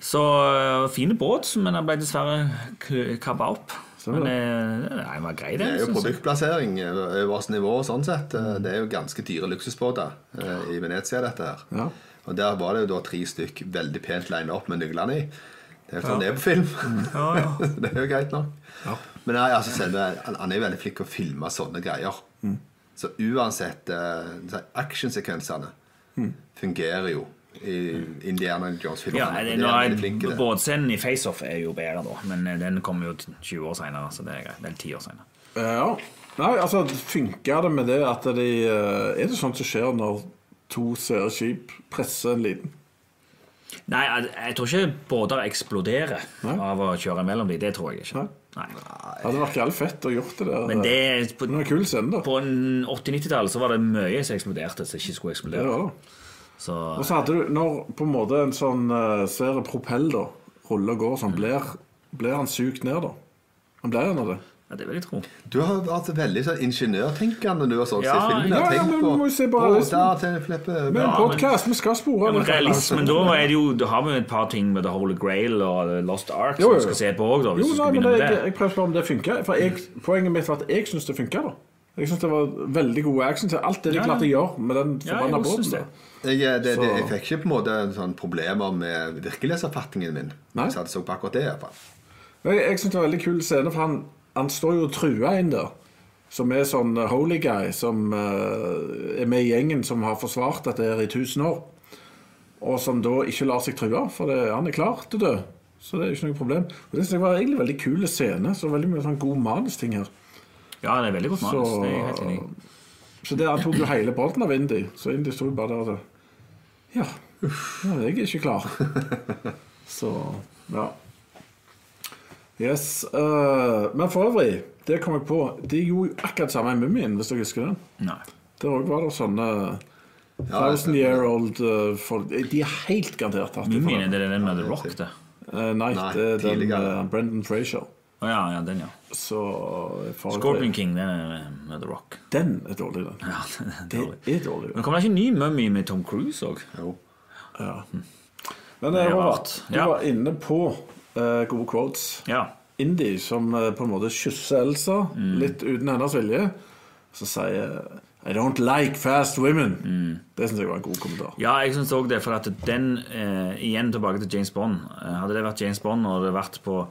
Så øh, fine båt, men han ble dessverre kabba opp.
Stemmer
men øh, nei, han var grei,
Det
den.
er jo
synes jeg.
produktplassering over øverste nivå sånn sett. Det er jo ganske dyre luksusbåter eh, i Venezia, dette her.
Ja.
Og der var det jo da tre stykk veldig pent lina opp med nøklene i. Det er jo sånn det er på film.
Mm. Ja, ja.
(laughs) det er jo greit nok. Men nei, altså, selve, han, han er jo veldig flink til å filme sånne greier.
Mm.
Så uansett eh, så actionsekvensene
Mm.
fungerer jo i Indiana Jones-filmene.
Ja,
Og
det,
det er
nå
han
er
veldig flink til det.
Båtscenen i Face Off er jo bedre, da. Men øh, den kommer jo t- 20 år seinere, så det er greit. Det er 10 år seinere.
Eh, Ja. Nei, altså, funker det med det at de eh, Er det sånt som skjer når to svære skip presser en liten?
Nei, jeg, jeg tror ikke båter eksploderer av å kjøre mellom dem. Det tror jeg ikke. Nei.
Ja, det vært jævlig fett å gjort det der.
Men det er på,
Men det var en kul scene, da.
På en 80-90-tall så var det mye som eksploderte som ikke skulle
Det
eksplodere.
var det.
Så
Og så hadde du Når på en måte en sånn uh, svær propell da ruller og går sånn,
Mm.
blir, blir han sugd ned, da? Han blir gjerne det.
ja, det vil jeg tro.
Du har vært veldig sånn ingeniørtenkende du har sånn
Ja,
sett filmen.
ja,
og
ja,
tenkt
men
på
vi må jo se på
«Å,
realismen».
der til en flippe
Men
bra.
podcast, vi skal spore.
Ja, men
dette.
realismen, da er det jo, da har vi jo et par ting med The Holy Grail og The Lost Ark
Jo,
som
jo,
vi skal se på òg, hvis
Jo,
du
nei,
skal
men
begynne
jeg,
med
jeg,
det.
prøver å spørre om det funker. For jeg, poenget mitt var at jeg syns det funka. Jeg syns det var veldig god action til alt det de
Ja, ja.
klarte å gjøre med den
Ja, jeg
forbanna
også
båten.
synes
da.
det.
Jeg, eh, det, det,
Så-
jeg fikk ikke på en måte sånn problemer med virkelighetsavfatningen min.
Nei.
Så jeg så på akkurat det, i hvert fall.
Men Jeg, jeg syns det var en veldig kul scene, for han, han står jo og truer en der. Som er sånn eh, holy guy som eh, er med i gjengen som har forsvart dette her i 1000 år. Og som da ikke lar seg true, for det, han er klar til å dø. Så det er jo ikke noe problem. Og Det synes jeg var egentlig en veldig kul scene. Så veldig mye sånn god manusting her.
Ja, det er veldig godt manus. Det er jeg helt enig i.
Så der tok jo hele bolten av Indy. Så Indy sto jo bare der og så Ja, ja jeg er ikke klar.
(laughs)
Så ja. Yes. eh, men for øvrig, det kom jeg på De gjorde jo akkurat samme i Mummien, hvis dere husker den.
Nei.
Der òg var det sånne
Ja, det
thousand year old eh, folk De er helt garantert tatt ifra
Mumien,
den.
er det den med The Rock, det?
Eh, nei,
Nei,
det er den
tidligere.
eh, Brendan Frazier.
Å ja, ja, den, ja.
Så for øvrig-
Scorpion King, den er med- med The Rock.
Den er dårlig, den.
Ja, (laughs) den er
Det
dårlig.
er dårlig.
Men kommer det ikke en ny Mummy med Tom Cruise òg?
Jo.
Men
Det er
Robert,
rart.
du
Ja.
var inne på eh, gode quotes.
Ja.
Indie som eh, på en måte kysser Elsa
Mm.
litt uten hennes vilje, så sier I don't like fast women.
Mm.
Det syns jeg var en god kommentar.
ja, jeg syns òg det. For at den, eh, igjen tilbake til James Bond. Eh, Hadde det vært James Bond og det vært på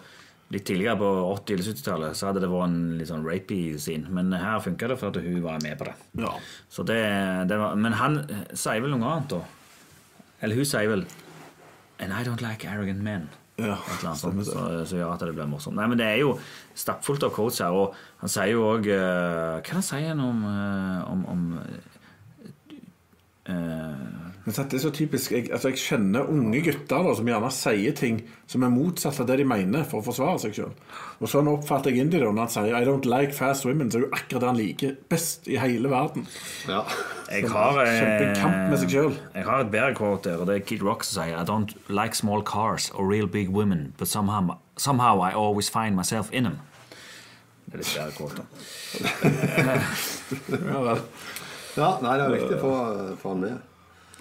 litt tidligere på 80- eller 70-tallet, så hadde det vært en litt sånn rapey scene. Men her funka det for at hun var med på det.
Ja.
Så det, det var, men han eh, sier vel noe annet, da. Eller hun sier vel And I don't like arrogant men.
Ja,
Et eller annet
stemmer
sånt, så, så gjør at det blir morsomt. Nei, men Det er jo stappfullt av codes her. Og han sier jo òg Hva er det han sier han om, eh, om, om eh, eh,
Men sant, det er så typisk. Jeg, altså, jeg kjenner unge gutter da, som gjerne sier ting som er motsatt av det de mener, for å forsvare seg sjøl. Og sånn oppfatter jeg Indie da, når han sier I don't like fast women, så er det jo akkurat det han liker best i hele verden.
Ja.
jeg har, eh,
Kjempe en kamp med seg selv.
Jeg har et bedre quote der, og det er Kid Rock som sier I don't like small cars or real big women, but somehow, somehow I always find myself in them. Det er litt bedre quote, da.
Ja, vel.
ja. Nei, det er viktig for, for han med.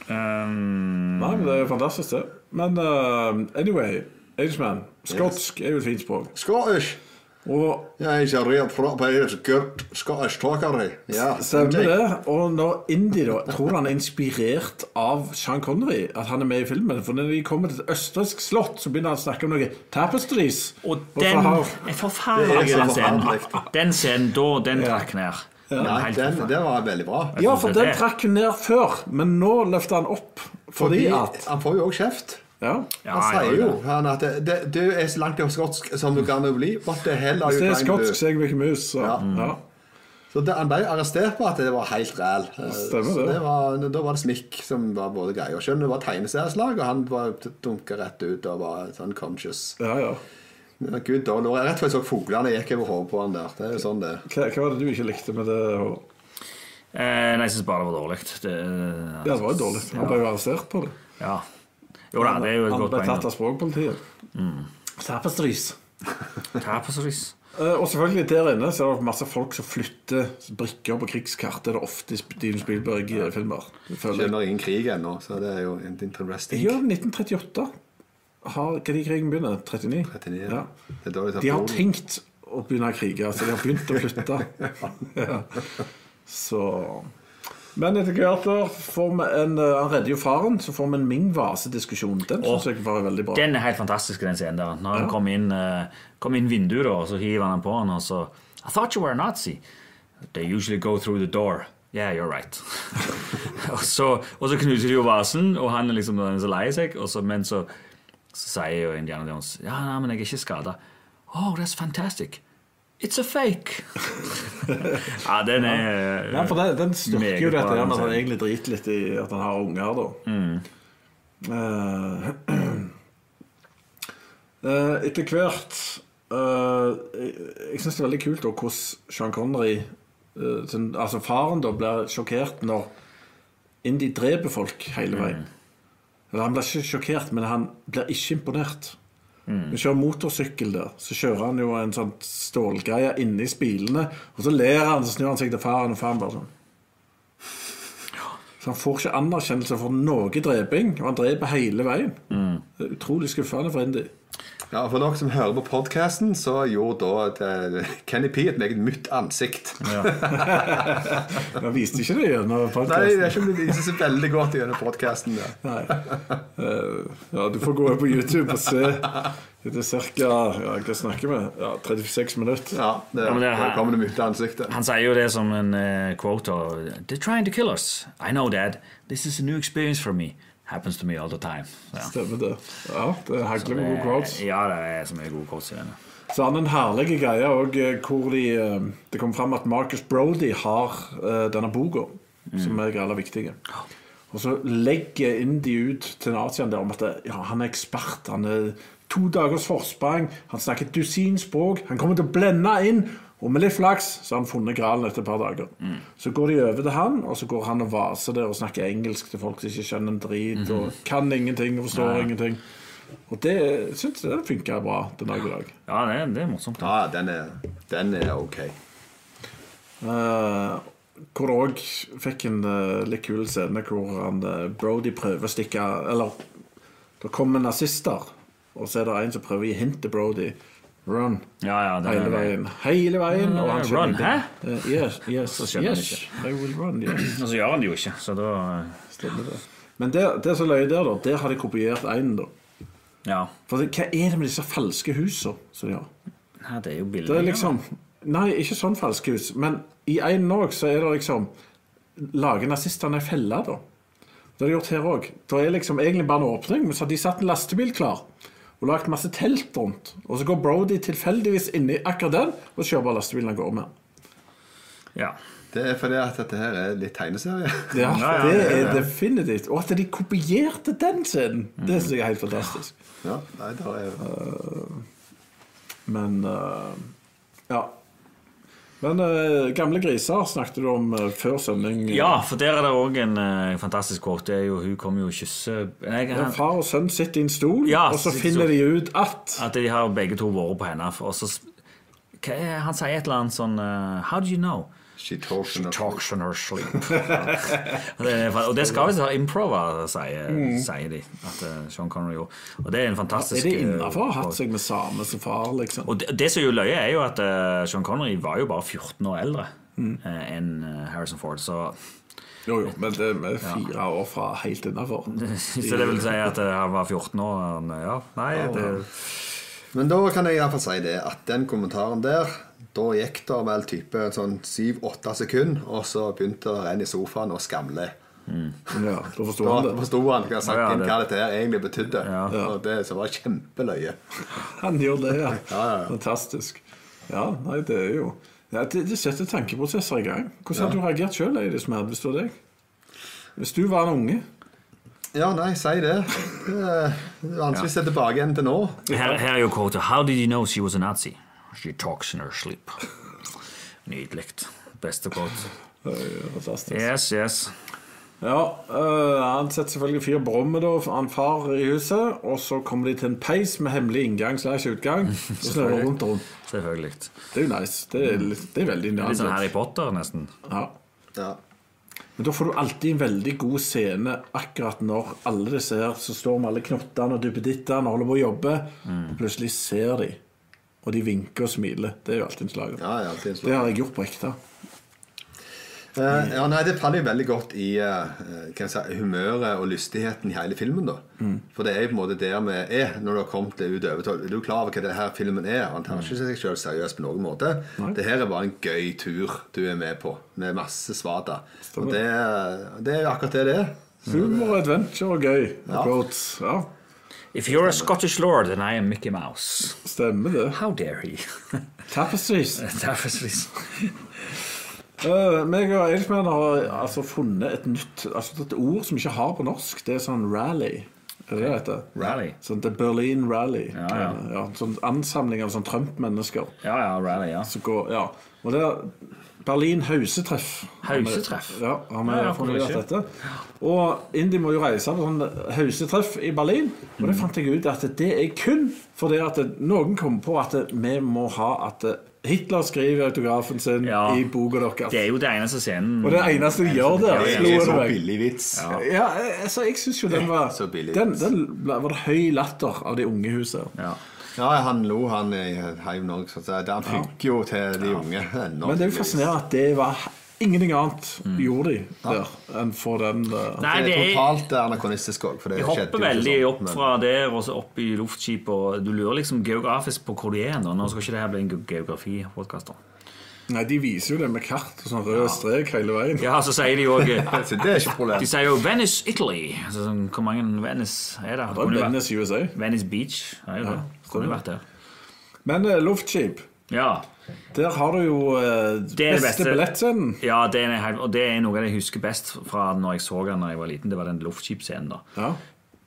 Um,
Nei, men det er jo fantastisk, det. Men eh, anyway, Ageman. Skotsk er jo et fint språk.
Skotsk!
Og
Jeg er redd for at jeg er skørt skotsktakere. Ja,
stemmer
ok.
det. Og når Indy, da Tror du han er inspirert av Sean Connery? At han er med i filmen? For når de kommer til et østerriksk slott, så begynner han å snakke om noe tapestries.
Og
så
den
har-
er forferdelig,
Det er
den scenen.
forferdelig.
Den scenen da, den trakk ned. Den var
Nei,
helt
den,
forferdelig.
det var veldig bra.
Ja, for den
Det-
trakk hun ned før, men nå løfter han opp. Fordi at
Han får jo òg kjeft.
Ja.
Ja,
Han
ja,
sier
ja.
jo han at det, det, du er så langt av skotsk som du kan bli. What the hell are
Hvis
you
det er
trying to do?
skotsk, så er jeg ikke mus. Så,
Ja.
ja.
Så det, han ble jo arrestert på at det var helt ræl. Eh,
Stemmer
Så
det.
det var, da var det smikk som var både greia. Og Skjønner det var tegneserieslag, og han var dunka rett ut og var sånn conscious.
ja, ja.
Men Gud, da, lå jeg rett før jeg så fuglene gikk over hodet på han der. Det er jo sånn det
Hva, hva var det du ikke likte med det? Håvard?
Eh, Nei, jeg syns bare det var dårlig. Det,
Ja, det var jo dårlig. Han ble jo arrestert på det.
ja. Jo da, det er jo et
Han
godt
ble
poeng.
tatt
da. Mm.
av språkpolitiet. Tapestries.
Hva på så vis?
Eh, Og selvfølgelig der inne så er det masse folk som flytter brikker på krigskart. Det er det ofte i Steven Spielberg-filmer. føler jeg.
skjønner ingen krig ennå, så det er jo interesting.
Ja, 1938. Har, hva er det krigen begynner? 39?
39.
Ja.
Det er da de
De
tar
har
blodet.
tenkt å begynne å krige, så de har begynt å flytte. (laughs) ja. Så Men etter hvert da får vi en eh, Han redder jo faren, så får vi en Ming-vasediskusjon. Den syns jeg var veldig bra.
Den er helt fantastisk, den scenen der. Når han kom inn, eh, kom inn vinduet, da, og så hiver han den på han, og så I thought you were a Nazi. They usually go through the door. Yeah, you're right. (laughs) og, så, og så knuser de jo vasen, og han er liksom han er så lei seg, og så, men så, så sier jo Indiana Jones Ja, nei, men jeg er ikke skada. Oh, that's fantastic. It's a fake. (laughs) ja, den er
Ja, for den, den styrker
Meget
jo dette
bra,
her med at han
den
egentlig driter litt i at han har unger, da. Eh, eh, etter hvert eh, Jeg, jeg syns det er veldig kult da, hvordan Sean Connery eh, sin, Altså faren da blir sjokkert når Indy dreper folk hele veien. Eller, Han blir ikke sjokkert, men han blir ikke imponert. Vi kjører motorsykkel der. Så kjører han jo en sånn stålgreie inni spilene. Og så ler han, så snur han seg til faren, og faren bare sånn. Så han får ikke anerkjennelse for noe dreping, og han dreper hele veien. Det er utrolig skuffende for Indy.
Ja, For dere som hører på podkasten, så gjorde da eh, Kenny P et meget mutt ansikt.
Han viste ikke det gjennom
(laughs) Nei,
podkasten.
det er ikke det viser seg veldig godt gjennom podkasten.
Nei. Eh, ja, du får gå inn på YouTube og se. Det er ca. Ja, hva snakker vi? Ja, 36 minutter.
Ja, det,
men det er-
der kommer det mutte ansiktet.
Han sier jo det som en eh, quote. og, They're trying to kill us. I know that. This is a new experience for me. Happens to me all the time. Ja.
Stemmer det. Ja, det er hagler med gode quotes.
Ja, det er så mye gode quotes i denne.
Så han en herlig greie òg, hvor de, eh, det kom fram at Marcus Brody har eh, denne boka, som er det aller viktige. Og så legger Indy ut til Nazian der om at eh, ja, han er ekspert. Han er to dagers forsprang, han snakker et dusin språk, han kommer til å blende inn. Og med litt flaks så har han funnet gralen etter et par dager. Så går de over til han, og så går han og vaser der og snakker engelsk til folk som ikke skjønner en drit, og kan ingenting og forstår ingenting. Og det syns jeg funker bra den dag i dag.
Ja, det er, det er morsomt. da.
Ja, den er, den er ok.
Eh, hvor det òg fikk en eh, litt kul scene hvor han, eh, Brody prøver å stikke Eller det kommer nazister, og så er det en som prøver å gi hint til Brody. Run.
Ja, ja, det
Hele
er, Mm,
veien. Hele veien. Og han
Run,
skjønner ikke. Eh, yes, yes,
skjønner han
yes, I will run, yes.
Og så gjør han det jo ikke, så da eh,
Stemmer det. Men det, det som løy der, da, der har de kopiert einen, da.
Ja.
For det, hva er det med disse falske husene som de har?
Nei, det er jo
Det
bilder.
er liksom Nei, ikke sånn falske hus. Men i en òg så er det liksom Lager nazistene ei felle, da? Det har de gjort her òg. Det er liksom egentlig bare en åpning, men så har de satt en lastebil klar. Og lagt masse telt rundt. Og så går Brody tilfeldigvis inni akkurat den og kjører bare lastebilen han går med.
Ja.
Det er fordi at dette her er litt tegneserie. (laughs)
Ja,
Ja, ja,
det
ja,
er definitivt. Og at de kopierte den scenen, det syns jeg er helt fantastisk.
Ja, nei, der er,
Men eh, ja. Men eh, gamle griser snakket du om eh, før sending.
ja, for der er det òg en eh, fantastisk quote. Det er jo, hun kommer jo og kysser Nei,
Ja,
han-
far og sønn sitter i en stol,
Ja,
og så
sitter i
finner
stol.
de ut at
At de har begge to vært på henne. for- Og så s- hva er, Han sier et eller annet sånn eh, How do you know?
she talks in the-
Talks in her sleep. (laughs) Og det er- og det skal visst være improva, sier, sier de. At eh, Sean Connery gjorde. Og det er en fantastisk
Er det
eh,
innafor å ha hatt
quote.
seg med same som far, liksom?
Og det, det som er jo løye, er jo at eh, Sean Connery var jo bare 14 år eldre eh, enn eh, Harrison Ford. Så, (laughs)
Jo, jo, men det er fire år fra helt innafor.
(laughs) så det vil si at eh, han var 14 år han, eh, Ja, nei, det,
Men da kan jeg i hvert fall si det at den kommentaren der Da gikk det vel type sånn 7-8 sekunder, og så begynte en i sofaen å skamle.
sånn.
Ja, da forstår
Da
han det.
forsto han hva,
Ja,
saken,
det-
hva dette her egentlig betydde. Og det så var kjempeløye.
Han gjør det, ja. Fantastisk. Ja, nei, det er jo ja, det, det setter tankeprosesser i gang. Hvordan hadde du reagert sjøl, Eidis Merd, hvis det var deg? Hvis du var en unge?
Ja, nei, si det. Det er vanskelig å se tilbake igjen til nå.
her, her er jo quota. How did you know she was a Nazi? She talks in her sleep. Nydelig. Beste quote.
Det er jo Fantastisk.
Yes, yes.
Ja, øh, Han setter selvfølgelig fyr på rommet da, for han far i huset. Og så kommer de til en peis med hemmelig inngang slash (laughs) utgang. Og snurrer rundt og rundt.
Selvfølgelig.
Det er jo nice. Det er, litt- det er veldig
Litt sånn
nyanset.
Harry Potter, nesten.
Ja.
Ja.
Men da får du alltid en veldig god scene akkurat når alle disse her som står med alle knottene og duppedittene og holder på å jobbe, og plutselig ser de, og de vinker og smiler. Det er jo alltid en slager.
Ja, ja, alltid en slager.
Det har jeg gjort på ekte.
Eh, ja, nei, Det faller jo veldig godt i eh, hva jeg si, humøret og lystigheten i hele filmen. da.
Mm.
For det er jo på en måte der vi er når du har kommet det utover. Så Er du klar over hva det her filmen er? Han tar
Mm.
ikke seg selv seriøst på noen måte. Det her er bare en gøy tur du er med på, med masse svada. Og det, det er jo akkurat det det er.
Humor, adventure og gøy.
Ja.
Quotes. Ja,
If you're a Scottish lord, then I am Mickey Mouse.
stemmer det.
How dare (laughs) he?
Tapestries.
Derfor så-
Uh, meg og Eilsmann har altså funnet et nytt altså et ord som vi ikke har på norsk. Det er sånn rally. Er det det heter?
Rally.
Sånn The Berlin Rally. Eh,
Ja, ja.
sånn ansamling av sånn Trump-mennesker.
Ja, ja, rally, ja.
som går- Ja. Og det, Berlin Hausetreff.
Hausetreff?
Ja, han
Ja,
har
ja,
formulert
hvorfor
dette. Og Indi må jo reise på sånn hausetreff i Berlin. Og
Mm.
det fant jeg ut at det er kun fordi at noen kom på at vi må ha at Hitler skriver autografen sin
Ja.
i boka deres.
Det er jo det eneste scenen.
Og det eneste de gjør der,
Det
slo
er
det sånn
så
meg.
billig vits.
Ja, altså, jeg syns jo den var
Så billig.
Den, den ble- var det høy latter av de unge i huset.
Ja.
Ja, han lo, han i Heim Norge. Så det- han funker jo til de unge. (laughs) ennå,
Men det er
tydeligvis.
jo fascinerende at det var ingenting annet
Mm.
gjorde de der enn for den eh,
Nei,
Det er
det er
totalt anakronistisk òg.
Vi hopper veldig
sånn,
opp fra der og så opp i luftskip. Og du lurer liksom geografisk på hvor du er. nå. Nå skal ikke det her bli en geografipodkast.
Nei, de viser jo det med kart og sånn rød strek hele veien.
Ja, så sier de jo òg
Så det er ikke et problem.
De sier jo Venice, Italy. Altså, sånn, hvor mange Venice er det?
Det er
Kunne jo vært-
Venice USA.
Venice Beach. Det er jo det. Kunne jo vært der.
Men eh, luftskip,
Ja.
der har du jo eh,
er det
beste
beste.
billettscenen.
ja det er, helt- og det er noe av det jeg husker best fra når jeg så den da jeg var liten. Det var den luftskipscenen, da.
Ja.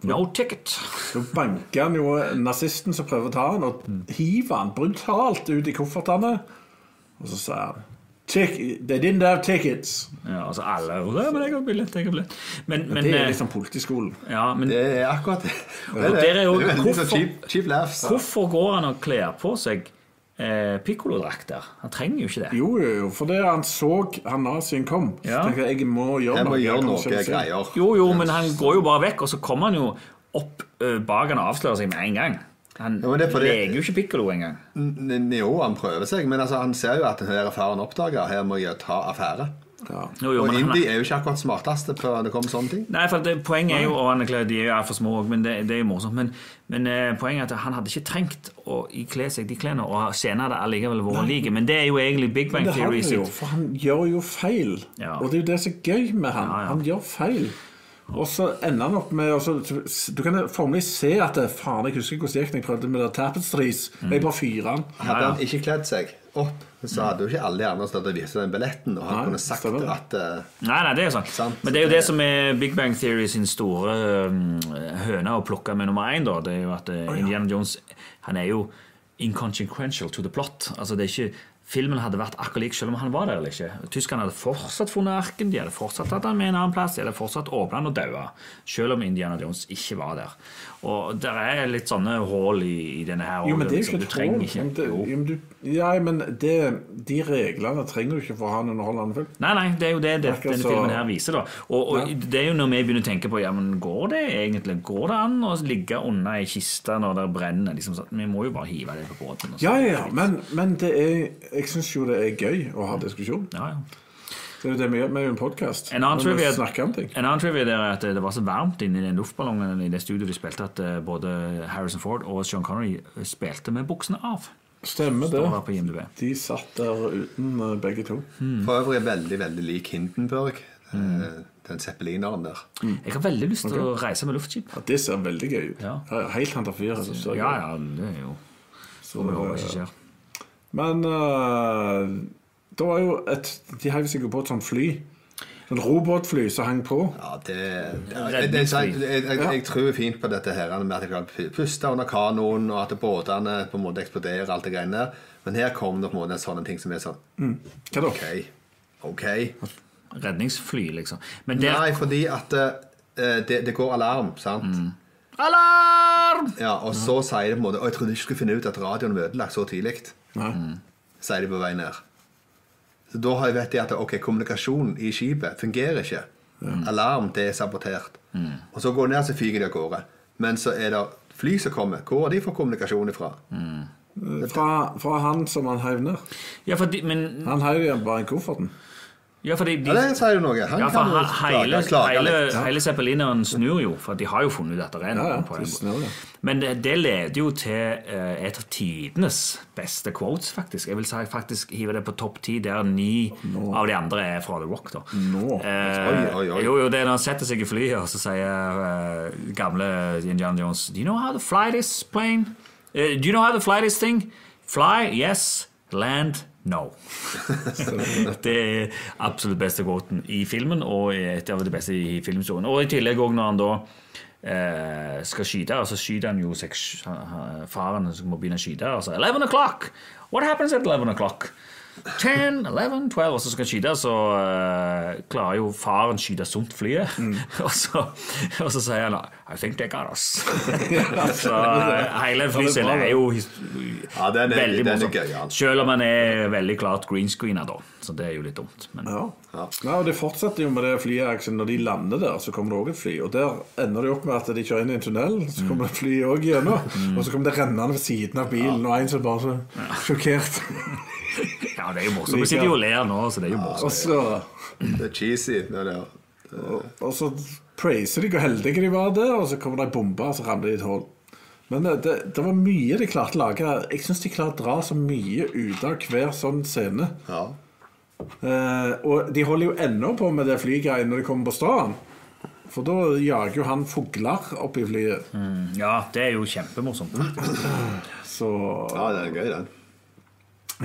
No ticket.
Da banker han jo nazisten som prøver å ta han, og hiver han brutalt ut i koffertene. Og så sier han "Tick- They didn't have tickets.
Ja, altså alle «Ja, Men jeg har billett, jeg har billett. Men, men,
Det
eh,
er liksom politiskolen.
ja, men
Det er akkurat det. Det
Og der er jo-
Det veldig sånn
hvorfor-
cheap, cheap laughs.
hvorfor går han og kler på seg eh, pikkolodrakter? Han trenger jo ikke det.
Jo, jo, jo, for det han så han nazien kom, så
Ja.
tenkte jeg jeg må gjøre
Jeg må
noe.
gjøre
kan
noe
ikke se."
greier.
sånn Jo, jo, men han går jo bare vekk, og så kommer han jo opp eh, bak han og avslører seg med en gang. Han
Ja, men det er fordi-
leker jo ikke pikkolo engang.
N- n- Jo, han prøver seg, men altså, han ser jo at her er faren oppdager. Her må jeg ta affære.
Ja.
Jo, jo,
Og
men han-
Indi er jo ikke akkurat smarteste på når det kommer sånne ting.
Nei, for det, Poenget er jo og han er klar, De er jo for små også, men det, det er jo morsomt. Men, men eh, poenget er at han hadde ikke trengt å ikle seg de klærne. Og scenen hadde allikevel vært like. Men det er jo egentlig Big Bang
Det har
Theory
han jo,
sitt.
for han gjør jo feil.
Ja.
Og det er jo det som er gøy med han.
ja.
Han gjør feil. Og så ender han opp med og så- Du kan formelig se at det, Faen, jeg husker ikke hvordan det gikk da jeg prøvde med det tapestries.
Mm.
Jeg bare fyrer han.
Hadde han ikke kledd seg opp, så hadde jo ikke alle de andre stått og vist den billetten, og han
Nei,
kunne sagt
stemmer det.
at eh,
Nei, nei, det er jo sant.
Sant.
Men det er jo det som er Big Bang Theory sin store um, høne å plukke med nummer én. da. Det er jo at eh, Indiana Jones han er jo inconsequential to the plot. Altså, det er ikke... Filmen hadde vært akkurat lik selv om han var der eller ikke. Tyskerne hadde fortsatt funnet arken, de hadde fortsatt tatt han med en annen plass, de hadde fortsatt åpnet han og daua, selv om Indiana Jones ikke var der. Og det er litt sånne hull i, i denne her.
Jo, men det er jo
liksom,
ikke
du
et troll.
trenger
Men
ikke.
det-
Jo.
jo, men du- Ja, men det, de reglene trenger du ikke for å ha en underholdende film.
Nei, nei, det er jo det, det
Akkurat
denne
så-
filmen her viser. da og, og det er jo når vi begynner å tenke på Ja, men går det egentlig Går det an å ligge unna ei kiste når det brenner? Liksom, sånn? vi må jo bare hive det på båten. og sånn. så-
Ja, ja, ja, men, men det er, jeg syns jo det er gøy å ha diskusjon.
Ja, ja.
Det er jo det vi gjør med en podkast.
En annen trivia,
snakker om ting.
en annen trivia der er at eh, det var så varmt inni den luftballongen i det studioet de spilte, at eh, både Harrison Ford og Sean Connery eh, spilte med buksene av.
Stemmer
Står der
det.
på IMDb.
De satt der uten eh, begge to.
For øvrig er veldig, veldig lik Hindenburg,
Mm.
eh, den zeppelineren der.
Jeg har veldig lyst til å reise med luftskip.
Ja, Det ser veldig gøy ut.
Ja.
Ja, Helt hand av fire. Så ser jeg
Ja,
ut.
ja, det er jo
Så,
Vi håper det ikke skjer.
men eh, det var jo et De heiv seg jo på et sånt fly. Et robotfly som hang på.
Ja, det, det, det, det
Redningsfly.
jeg, jeg, jeg, jeg tror fint på dette her med at jeg kan puste under kanoen, og at båtene på en måte eksploderer, alt det greiene der. Men her kom det på en måte en sånn ting som er sånn
Hva da?
OK. OK.
Redningsfly, liksom. Men der
Nei, fordi at eh, det, det går alarm, sant?
Alarm!
Ja, og så sier de på en måte Og jeg trodde ikke skulle finne ut at radioen var ødelagt så tidlig.
Nei.
Sier de på vei ned. Så da har jeg vet jeg at ok, kommunikasjonen i skipet fungerer ikke. Alarm, det er sabotert. Og så går de ned, så fyker de av gårde. Men så er det fly som kommer. Hvor har de fått kommunikasjon ifra?
Fra, fra han som han heiv ned.
Ja, fordi, men,
Han heiv igjen bare i kofferten.
ja, fordi de,
Ja, det sier du noe. Han
ja, for
kan jo
he- hele,
klage, klage
hele,
litt.
hele zeppelineren snur jo, for de har jo funnet ut at det er
Ja,
noe
ja,
på den
det snur, ja.
Men det, det leder jo til eh, et av tidenes beste quotes, faktisk. Jeg vil si faktisk hive det på topp ti, der ni av de andre er fra The Rock. da.
Nå.
Eh,
Oi, oi, oi.
Jo, jo, det er når han setter seg i flyet, og så sier eh, gamle Indiana Jones Do you know how to fly this plane? Eh, do you know how to fly this thing? Fly, yes. Land, no. (laughs) det er absolutt beste kvoten i filmen, og et av de beste i filmhistorien. Og i tillegg også når han da eh, skal skyte, og så skyter han jo seg, han- han- faren som må begynne å skyte, og så 11 o'clock! What happens at 11 o'clock? 10, 11, 12 Og så skal han skyte, så eh, klarer jo faren skyte sunt flyet.
Mm.
(laughs) og, så, og så sier han I think they got
(laughs)
us. (laughs) så eh, hele flyscenen er jo his-
Ja, den er-
veldig
den er
morsom.
gøy, ja.
Selv om han er veldig klart greenscreena, da. Så det er jo litt dumt. Men
Ja. Nei, og Det fortsetter jo med det flyet. Når de lander der, så kommer det òg et fly. Og der ender det opp med at de kjører inn i en tunnel, så kommer det fly òg gjennom. Og så kommer det rennende ved siden av bilen, og en som bare så sjokkert.
ja, det er jo morsomt. Vi sitter jo og ler nå, så det er jo morsomt.
Og så,
Det er cheesy. Det er det.
og så praiser de hvor heldige de var der, og så kommer det ei bombe, og så ramler de i et hull. Men eh, det, det var mye de klarte å lage. her. Jeg syns de klarer å dra så mye ut av hver sånn scene.
Ja.
Eh, og de holder jo ennå på med det flygreiene når de kommer på stranden. For da jager jo han fugler opp i flyet.
Mm.
Ja, det er jo kjempemorsomt.
Så
ja, den er gøy, den.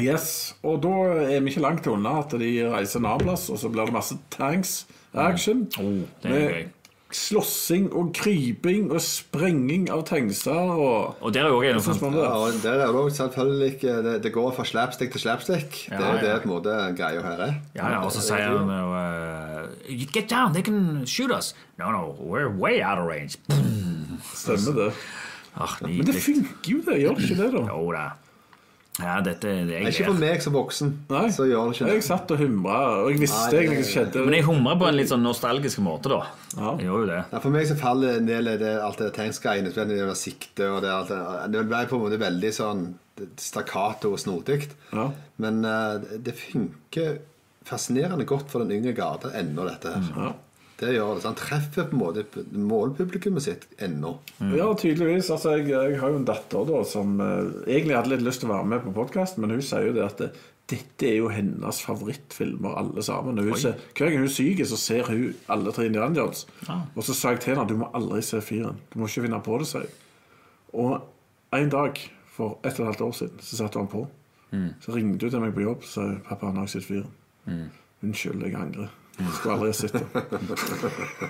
yes. Og da er vi ikke langt unna at de reiser en annen plass, og så blir det masse
Mm.
tanks-action.
Oh, det er gøy.
slåssing og kryping og sprenging av tankser og
Og der er jo sånn- også en
Hvordan
fant-
var
Ja,
det?
og der er det jo selvfølgelig ikke Det, det går fra slapstick til slapstick. Det er jo
Ja,
det
ja.
på en måte greia her er.
Ja, ja, og så sier han jo eh, You Get down, they can shoot us. No, no, we're way out of range.
Stemmer det?
Ah,
Men det
nydelig.
funker jo, det. Gjør det ikke det, da?
Jo da. Ja, dette det
Ikke
jeg
for
ler.
meg som voksen,
Nei.
så gjør det ikke
Jeg
det.
satt og humra, og jeg visste
Nei, det-
egentlig hva som skjedde.
Men jeg humrer på en litt sånn nostalgisk måte, da.
Ja.
Jeg gjør jo det.
Nei, for meg så faller en del av det, alt det tegnsgreiene. spesielt Det med sikte og det alt det Det ble på en måte veldig sånn stakkato og snodig.
Ja.
Men eh, det funker fascinerende godt for den yngre garde ennå, dette her.
Ja.
Det gjør det. så Han treffer på en måte målpublikummet sitt ennå.
Ja, tydeligvis. Altså, jeg, jeg har jo en datter da, som eh, egentlig hadde litt lyst til å være med på podkasten, men hun sier jo det at det, dette er jo hennes favorittfilmer, alle sammen. Og Hun ser, hver gang hun er syk, så ser hun alle tre Indiana Jones.
Ah.
Og så sa jeg til henne at du må aldri se firen. Du må ikke finne på det, sier hun. Og en dag for ett og et halvt år siden så satte hun på. Så ringte hun til meg på jobb og sa hun, pappa, nå har jeg sett firen. Unnskyld, jeg angrer. Skulle aldri ha sett den.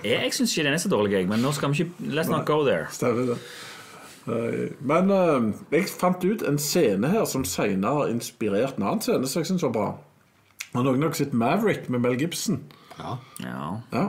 Jeg, jeg syns ikke den er så dårlig, jeg, men nå skal vi ikke Let's not go there.
Stemmer det. Eh, Men eh, jeg fant ut en scene her som senere har inspirert en annen scene som jeg syns var bra. Og noen har sett Maverick med Mel Gibson.
Ja.
Ja.
Ja.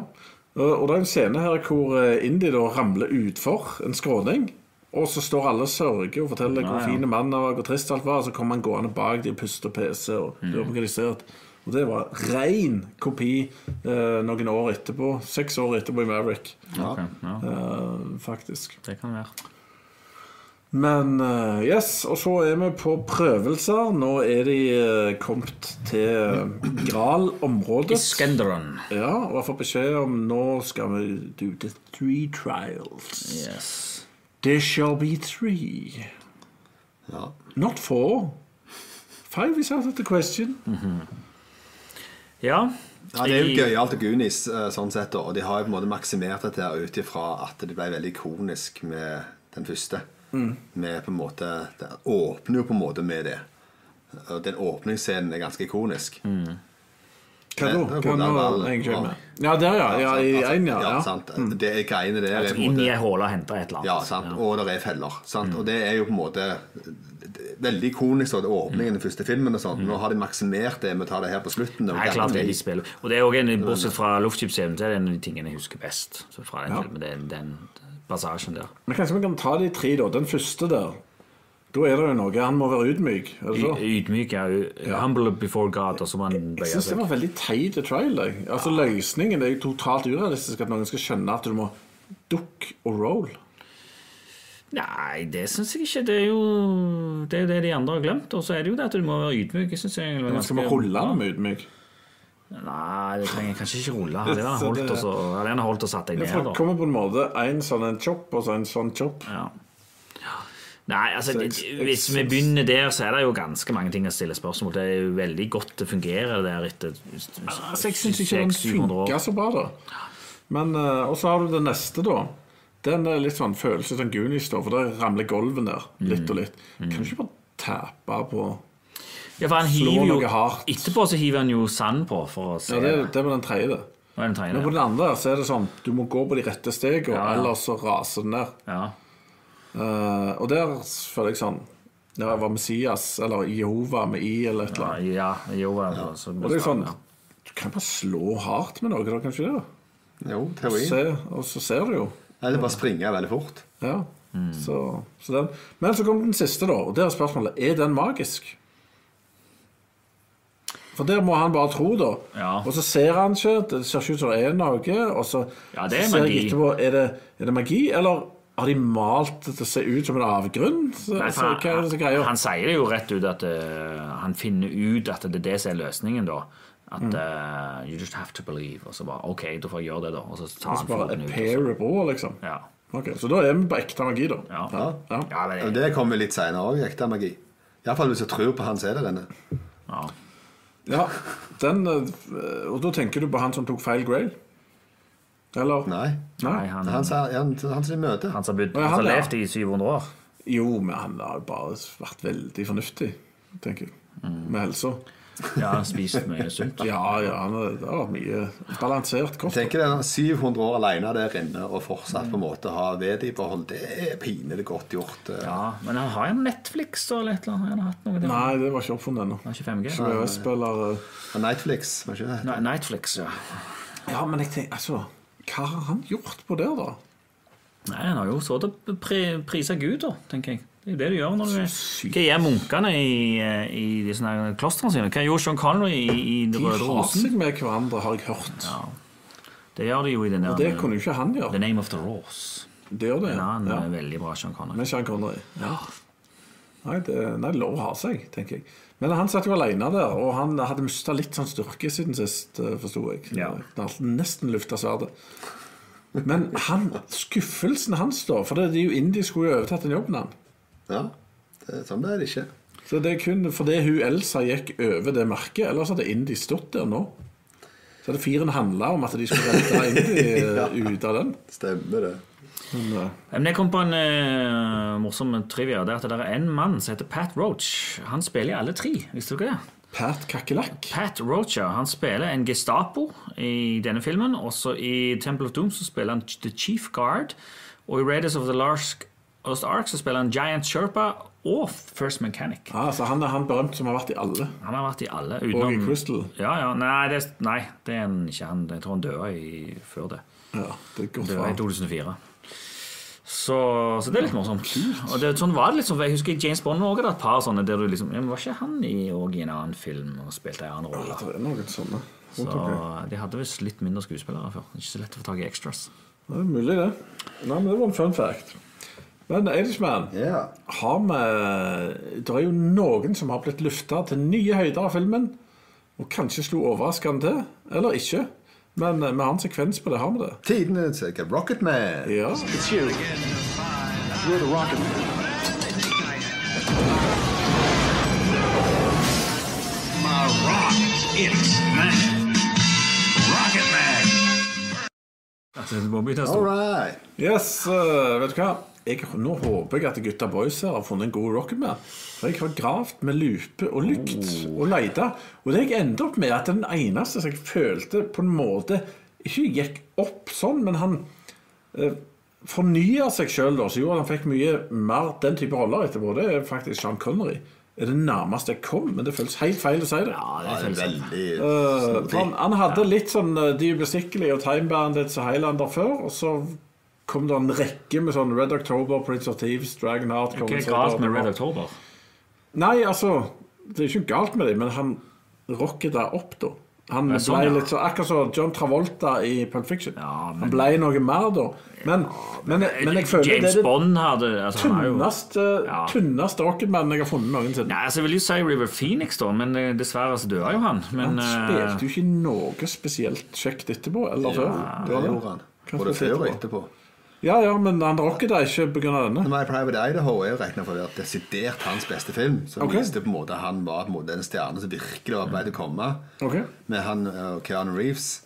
Eh, Og det er en scene her hvor eh, Indy da ramler utfor en skråning. Og så står alle og sørger og forteller hvor
Ja, ja.
fin mannen han var, hvor trist alt var. Og så kommer han gående bak de og puster og peser og
Mm.
lurer på hva de ser. Og det var rein kopi eh, noen år etterpå. Seks år etterpå i Maverick,
Ok, ja.
eh, faktisk.
Det kan være.
Men eh, yes, og så er vi på prøvelser. Nå er de eh, kommet til Gral-området.
Iskenderon.
Ja, og har fått beskjed om nå skal vi do the three trials.
Yes.
There shall be three.
ja.
Not four. Five is out of the question.
Ja.
Ja, Det er jo gøyalt og Goonies eh, sånn sett, da. Og de har jo på en måte maksimert dette her ut ifra at det ble veldig ikonisk med den første.
Mm.
Med på en måte Det åpner jo på en måte med det. Og den åpningsscenen er ganske ikonisk.
Mm. Hva
Ja,
da?
det er
Hva
godt,
nå?
det er vel-
Jeg
ja.
glemmer. Ja, der, ja. ja I
Altså,
én, ja. Mm. ja.
sant. Det er greiene der er på en
Altså, Inn i
måte
ei håle og hente et eller annet.
ja, sant? Og det er feller. Sant?
Mm.
Og det er jo på en måte eh, veldig ikonisk, og det er åpningen i den første filmen og
Mm.
sånn. Nå har de maksimert det med å ta det her på slutten. og
Nei,
det-
klart det de spiller. Og det er også en, bortsett fra luftskipsevnen, så er det en av de tingene jeg husker best. Så fra den filmen, den, den passasjen der.
Men kanskje vi kan ta de tre, da. Den første der. Da er det jo noe. Han må være ydmyk. Er det så?
Y- Ydmyk, ja. u- Humble before God, og så må
Jeg
han bøye
synes det
seg.
var veldig teit trial. Jeg. Altså, Løsningen er jo totalt urealistisk. At noen skal skjønne at du må duck og roll.
Nei, det syns jeg ikke. Det er jo det, er jo det de andre har glemt. Og så er det jo det at du må være ydmyk. Jeg synes jeg var
Man
ganske-
skal bare rulle dem ut meg.
Nei, det trenger jeg kanskje ikke rulle. Hadde han
Så
holdt,
det-
og så, hadde han holdt og satt deg ned,
For det
da.
kommer på en måte en sånn en chop og så en sånn chop.
Ja. Ja. Nei, altså,
Så jeg-
det-
jeg
Hvis vi
synes-
begynner der, så er det jo ganske mange ting å stille spørsmål til. Det er jo veldig godt det fungerer der etter
Altså, jeg syns ikke den
600-700 år.
funka så bra, da. Men, eh, og så har du det neste, da. Den er litt sånn følelse som Goonies, da, for der ramler gulvet ned litt og litt. Kan du ikke bare tape på
Ja, for han
Slå
hiver jo,
noe hardt.
Etterpå så hiver han jo sand på for å se.
Ja, det, det var den tredje.
Hva er den tredje?
Men på den andre så er det sånn du må gå på de rette stegene,
Ja, ja.
ellers så raser den ned.
Ja.
Eh, og der føler jeg sånn Ja, det var Messias eller Jehova med I eller et eller annet.
Ja, jo, altså, så
Og det er sånn,
ja.
Du kan bare slå hardt med noe, da, kan du ikke det? da?
Jo, teorien.
Se, og så ser du jo.
Eller bare springe veldig fort.
Ja.
Mm.
Så, så den. Men så kom den siste, da. Og der er spørsmålet er den magisk. For der må han bare tro, da.
Ja.
Og så ser han ikke, det ser ikke ut som det er noe. Og så,
Ja, det er
så ser
magi.
jeg etterpå er det, er det magi, eller har de malt det til å se ut som en avgrunn? Så,
Nei,
så,
for
hva er det som er greia?
han, han sier det jo rett ut at eh, han finner ut at det er det som er løsningen, da. At
Mm.
eh, You just have to believe. Og så bare OK, da får jeg gjøre det, da. Og så tar
Altså
han
bare
foten ut. og så-
appear broa, liksom.
Ja.
Ok, Så da er vi på ekte magi, da.
Ja.
Ja.
Ja.
Ja, men,
Og
det,
det kommer litt seinere òg, ekte magi. Iallfall hvis jeg tror på han som er der inne.
ja.
Ja, den, eh, og da tenker du på han som tok feil grail? Eller?
Nei.
Nei, han,
Det er
han,
han som han, han som de møter.
som har bodd-
Ja,
han
han,
som har
ja.
levd i 700 år.
Jo, men han har jo bare vært veldig fornuftig, tenker jeg.
Mm.
Med helsa.
Ja, han har spist mye sunt.
Ja, ja, han har det har vært mye balansert kost.
Tenk deg 700 år alene der inne og fortsatt på en måte ha ved i behold. Det er pinlig godt gjort. eh.
(laughs) Ja, men han har jo Netflix eller et eller annet. Han har hatt noe der.
Nei, det var ikke oppfunnet ennå.
Han har ikke 5G.
EØS-spiller eh.
Og Netflix, var ikke det?
Nei, Netflix, ja.
Ja, men jeg tenker, altså Hva har han gjort på der, da?
Nei, han har jo så til å pri- prise Gud, da, tenker jeg. Det er jo det du gjør når du
sykt.
Hva gjør munkene i, eh, i de sånne her klostrene sine? Hva gjorde John Connery i, i Den
De
røde
har
rosen?
seg med hverandre, har jeg hørt.
Det gjør de jo i den der
Det kunne jo ikke han
The
gjøre.
Name of the Rose.
Det gjør det.
En annen
Ja.
eh, veldig bra John Connery.
Med Sean Connery. Nei, det, nei, det er lov å ha seg, tenker jeg. Men han satt jo alene der, og han hadde mista litt sånn styrke siden sist, eh, forsto jeg.
Ja.
Han hadde nesten lufta sverdet. Men han, skuffelsen hans, da For det, det er jo Indie skulle jo overtatt den jobben han.
Ja. Det, sånn ble det ikke.
Så det er kun fordi hun Elsa gikk over det merket, ellers hadde Indie stått der nå. Så hadde firen handla om at de skulle
(laughs)
redde Indie eh, ut av den.
Stemmer det.
Men, eh,
Men jeg kom på en eh, morsom trivia. Det er at det er en mann som heter Pat Roach. Han spiller i alle tre. Visste dere det?
Pat Kakerlakk
Pat Roacher han spiller en Gestapo i denne filmen. Også i Temple of Doom så spiller han The Chief Guard. Og i Raiders of the Lost Lost Ark så spiller han Giant Sherpa og First Mechanic.
Ah, så han er han berømt som har vært i alle.
Han har vært i alle.
Og i
utenom...
Crystal.
Ja, ja. Nei, det, nei, det er han ikke. Han, jeg tror han døde i, før det.
Ja, det er godt
Det
for
var i
han.
2004. Så, så det er litt morsomt. Og det, sånn var det litt sånn, for Jeg husker i James Bond også, det er et par sånne der du liksom ja, men Var ikke han i, og i en annen film og spilte en annen rolle?
Det er noen sånne.
Så De hadde visst litt mindre skuespillere før. Ikke så lett å få tak i extras.
Det er mulig, det. Nei, men Det var en fun fact. Men Eidishman,
Ja.
har vi Det er jo noen som har blitt løfta til nye høyder av filmen. Og kanskje slo overraskende til, eller ikke. Men eh, vi har en sekvens på det. Har vi det?
Tiden er sikkert. Rocket Man.
Ja.
It's you. You're the rocket man.
My rock, it's man. Rocket Man.
Altså, det må begynne å
All
stå.
right.
Yes, eh, vet du hva? Jeg, nå håper jeg at gutta boys her har funnet en god rocketman. For jeg har gravd med lupe og lykt og leita. Og det jeg endte opp med, at den eneste som jeg følte på en måte ikke gikk opp sånn, men han eh, fornya seg sjøl, da. Så gjorde at han fikk mye mer den type roller etterpå. Det er faktisk Sean Connery. Det er det nærmeste jeg kom, men det føles helt feil å si det.
Ja,
Ja,
det er
det er
følelsen.
veldig
Eh,
Øh,
for han,
snodig.
han hadde litt sånn eh, De ubestikkelige og Time Bandits og Highlander før, og så kom det en rekke med sånn Red October, Prince of Thieves, Dragon Heart
Hva
Golden
er
Sailor,
galt
det
med
var-
Red October?
Nei, altså Det er ikke galt med dem, men han rocket det opp, da. Han
Ja,
ble
sånn, ja.
litt så, Akkurat som John Travolta i Pulp Fiction.
Ja, men-
Han ble noe mer, da. Men, men, men jeg føler det
Eh, James
er det
Bond hadde altså, han er jo-
tynneste,
Ja.
tynneste rocketmannen jeg har funnet noensinne.
Nei, altså, Jeg vil jo si River Phoenix, da, men eh, dessverre så døde jo han.
Han
Men, eh,
spilte jo ikke noe spesielt kjekt etterpå, eller før.
Det gjorde han.
Hva
Både
skal vi
før og
se
etterpå.
Ja, ja, men han rocker det ikke pga. denne.
My Private Idaho er jo regnet for å være desidert hans beste film. Som
Ok.
viste på en måte at han var på en måte en stjerne som virkelig var på vei til å komme.
Ok.
Med han eh, Keanu Reeves.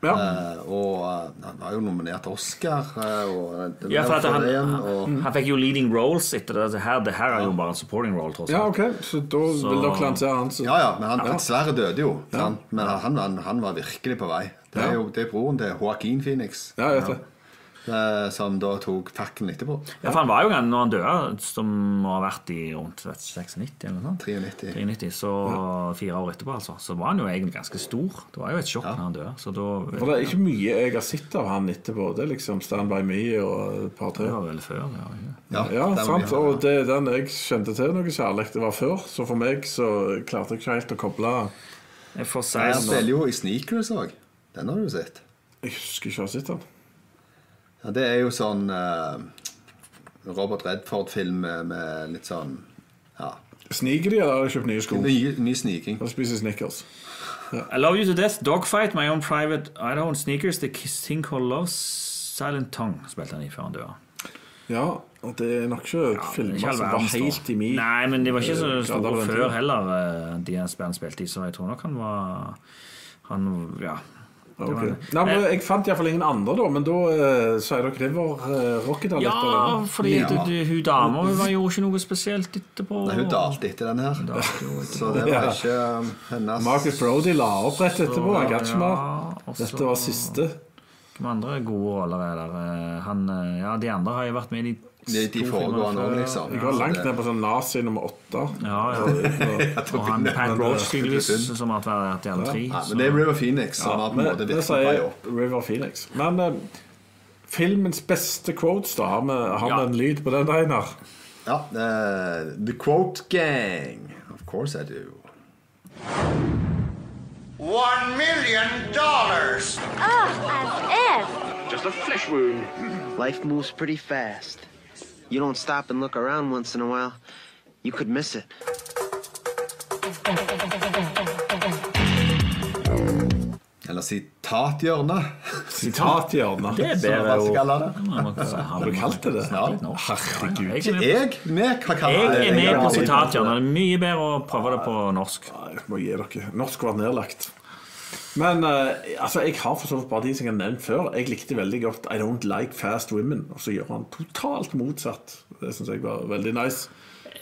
Ja.
Eh, og eh, han var jo nominert til Oscar. eh, og
ja, for at han,
igjen, og,
han, han fikk jo leading roles etter det. Det her, det her er jo bare en supporting role, tross
ja,
alt.
ok, så da vil dere lansere han som
ja, ja, men han dessverre døde jo. sant? Men han, han, han var virkelig på vei. Det er jo det er broren til Joaquin Phoenix.
Ja, jeg vet det.
eh, som da tok pakken etterpå.
Ja, for han var jo gan- når han døde, som må ha vært i rundt 96 eller noe sånt.
93.
93, så fire år etterpå, altså. Så var han jo egentlig ganske stor. Det var jo et sjokk når han døde. Så da
For det er ikke mye jeg har sett av han etterpå. Det er liksom Stand By Me og et par-tre.
Det var vel før. det var jo-
Ja,
den
sant.
vi har.
Og det er den jeg kjente til noe kjærlighet det var før. Så for meg så klarte jeg ikke helt å koble
Jeg får si
Nei, Han
at-
spiller jo i Sneakers òg. Den har du sett.
Jeg husker ikke å ha sett den.
Ja, det er jo sånn eh, Robert Redford-film med- med litt sånn Ja.
Sniker de, eller har de kjøpt nye sko?
Ny, ny sniking.
Eller spiser Snickers?
I love you to death, dogfight, my own private Idaho and sneakers, the kiss thing called love, silent tongue, spilte han i før han døde.
Ja, og det er nok ikke
Ja,
filmer
ikke all
som var
verdens
helt
da.
i min
Nei, men de var ikke så
eh, grad av
store
den
før
tiden.
heller, eh, de han spil- han spilte i, så jeg tror nok han var Han, ja. Det var- Eh,
Ok. Nei, men Jeg fant iallfall ingen andre, da, men da eh, sier dere River eh, Rocket har lett på
Ja,
den.
fordi du, du, hun dama hun var- gjorde ikke noe spesielt etterpå.
Nei, hun dalte etter den her. Så det var
Ja.
ikke um, hennes
Marcus Brody la opp rett etterpå. Jeg gadd ikke mer.
Ja, og så-
Dette var siste.
Hvem andre gode roller er der? Eh, Han, eh, ja, de andre har jo vært med i de
De, de
to
foregående
filmene
òg,
før.
liksom.
Jeg var
Så
langt
det-
ned på sånn nazi nummer åtte.
Ja,
(laughs)
ja. Og han Pat Roach, tydeligvis, som har vært i alle tre.
Nei,
så-
men det er River Phoenix som har på en
Men
måte
det
virkelig på vei
sier
opp.
River Phoenix. Men eh, filmens beste quotes, da? Har vi, har vi
Ja.
en lyd på den, Einar?
Ja, eh, The Quote Gang. Of course I do.
One million dollars.
Just a flesh wound.
Life moves pretty fast. You don't stop and look around once in a while, you could miss it.
Eller sitathjørnet.
Sitathjørnet.
Det er
som
bedre
man
ord.
skal kalle det.
Ja, man kan si- Har
Har du kalt det det?
Snart litt nå.
Herregud.
Jeg er
Jeg
med-
vi kan kalle
jeg er med på
det-
sitathjørnet. Det er mye bedre å prøve det på norsk.
Nei, Jeg må gi dere. Norsk var nedlagt. Men eh, altså, jeg har for så vidt bare de som jeg har nevnt før. Jeg likte veldig godt I Don't Like Fast Women. Og så gjør han totalt motsatt. Det syns jeg var veldig nice.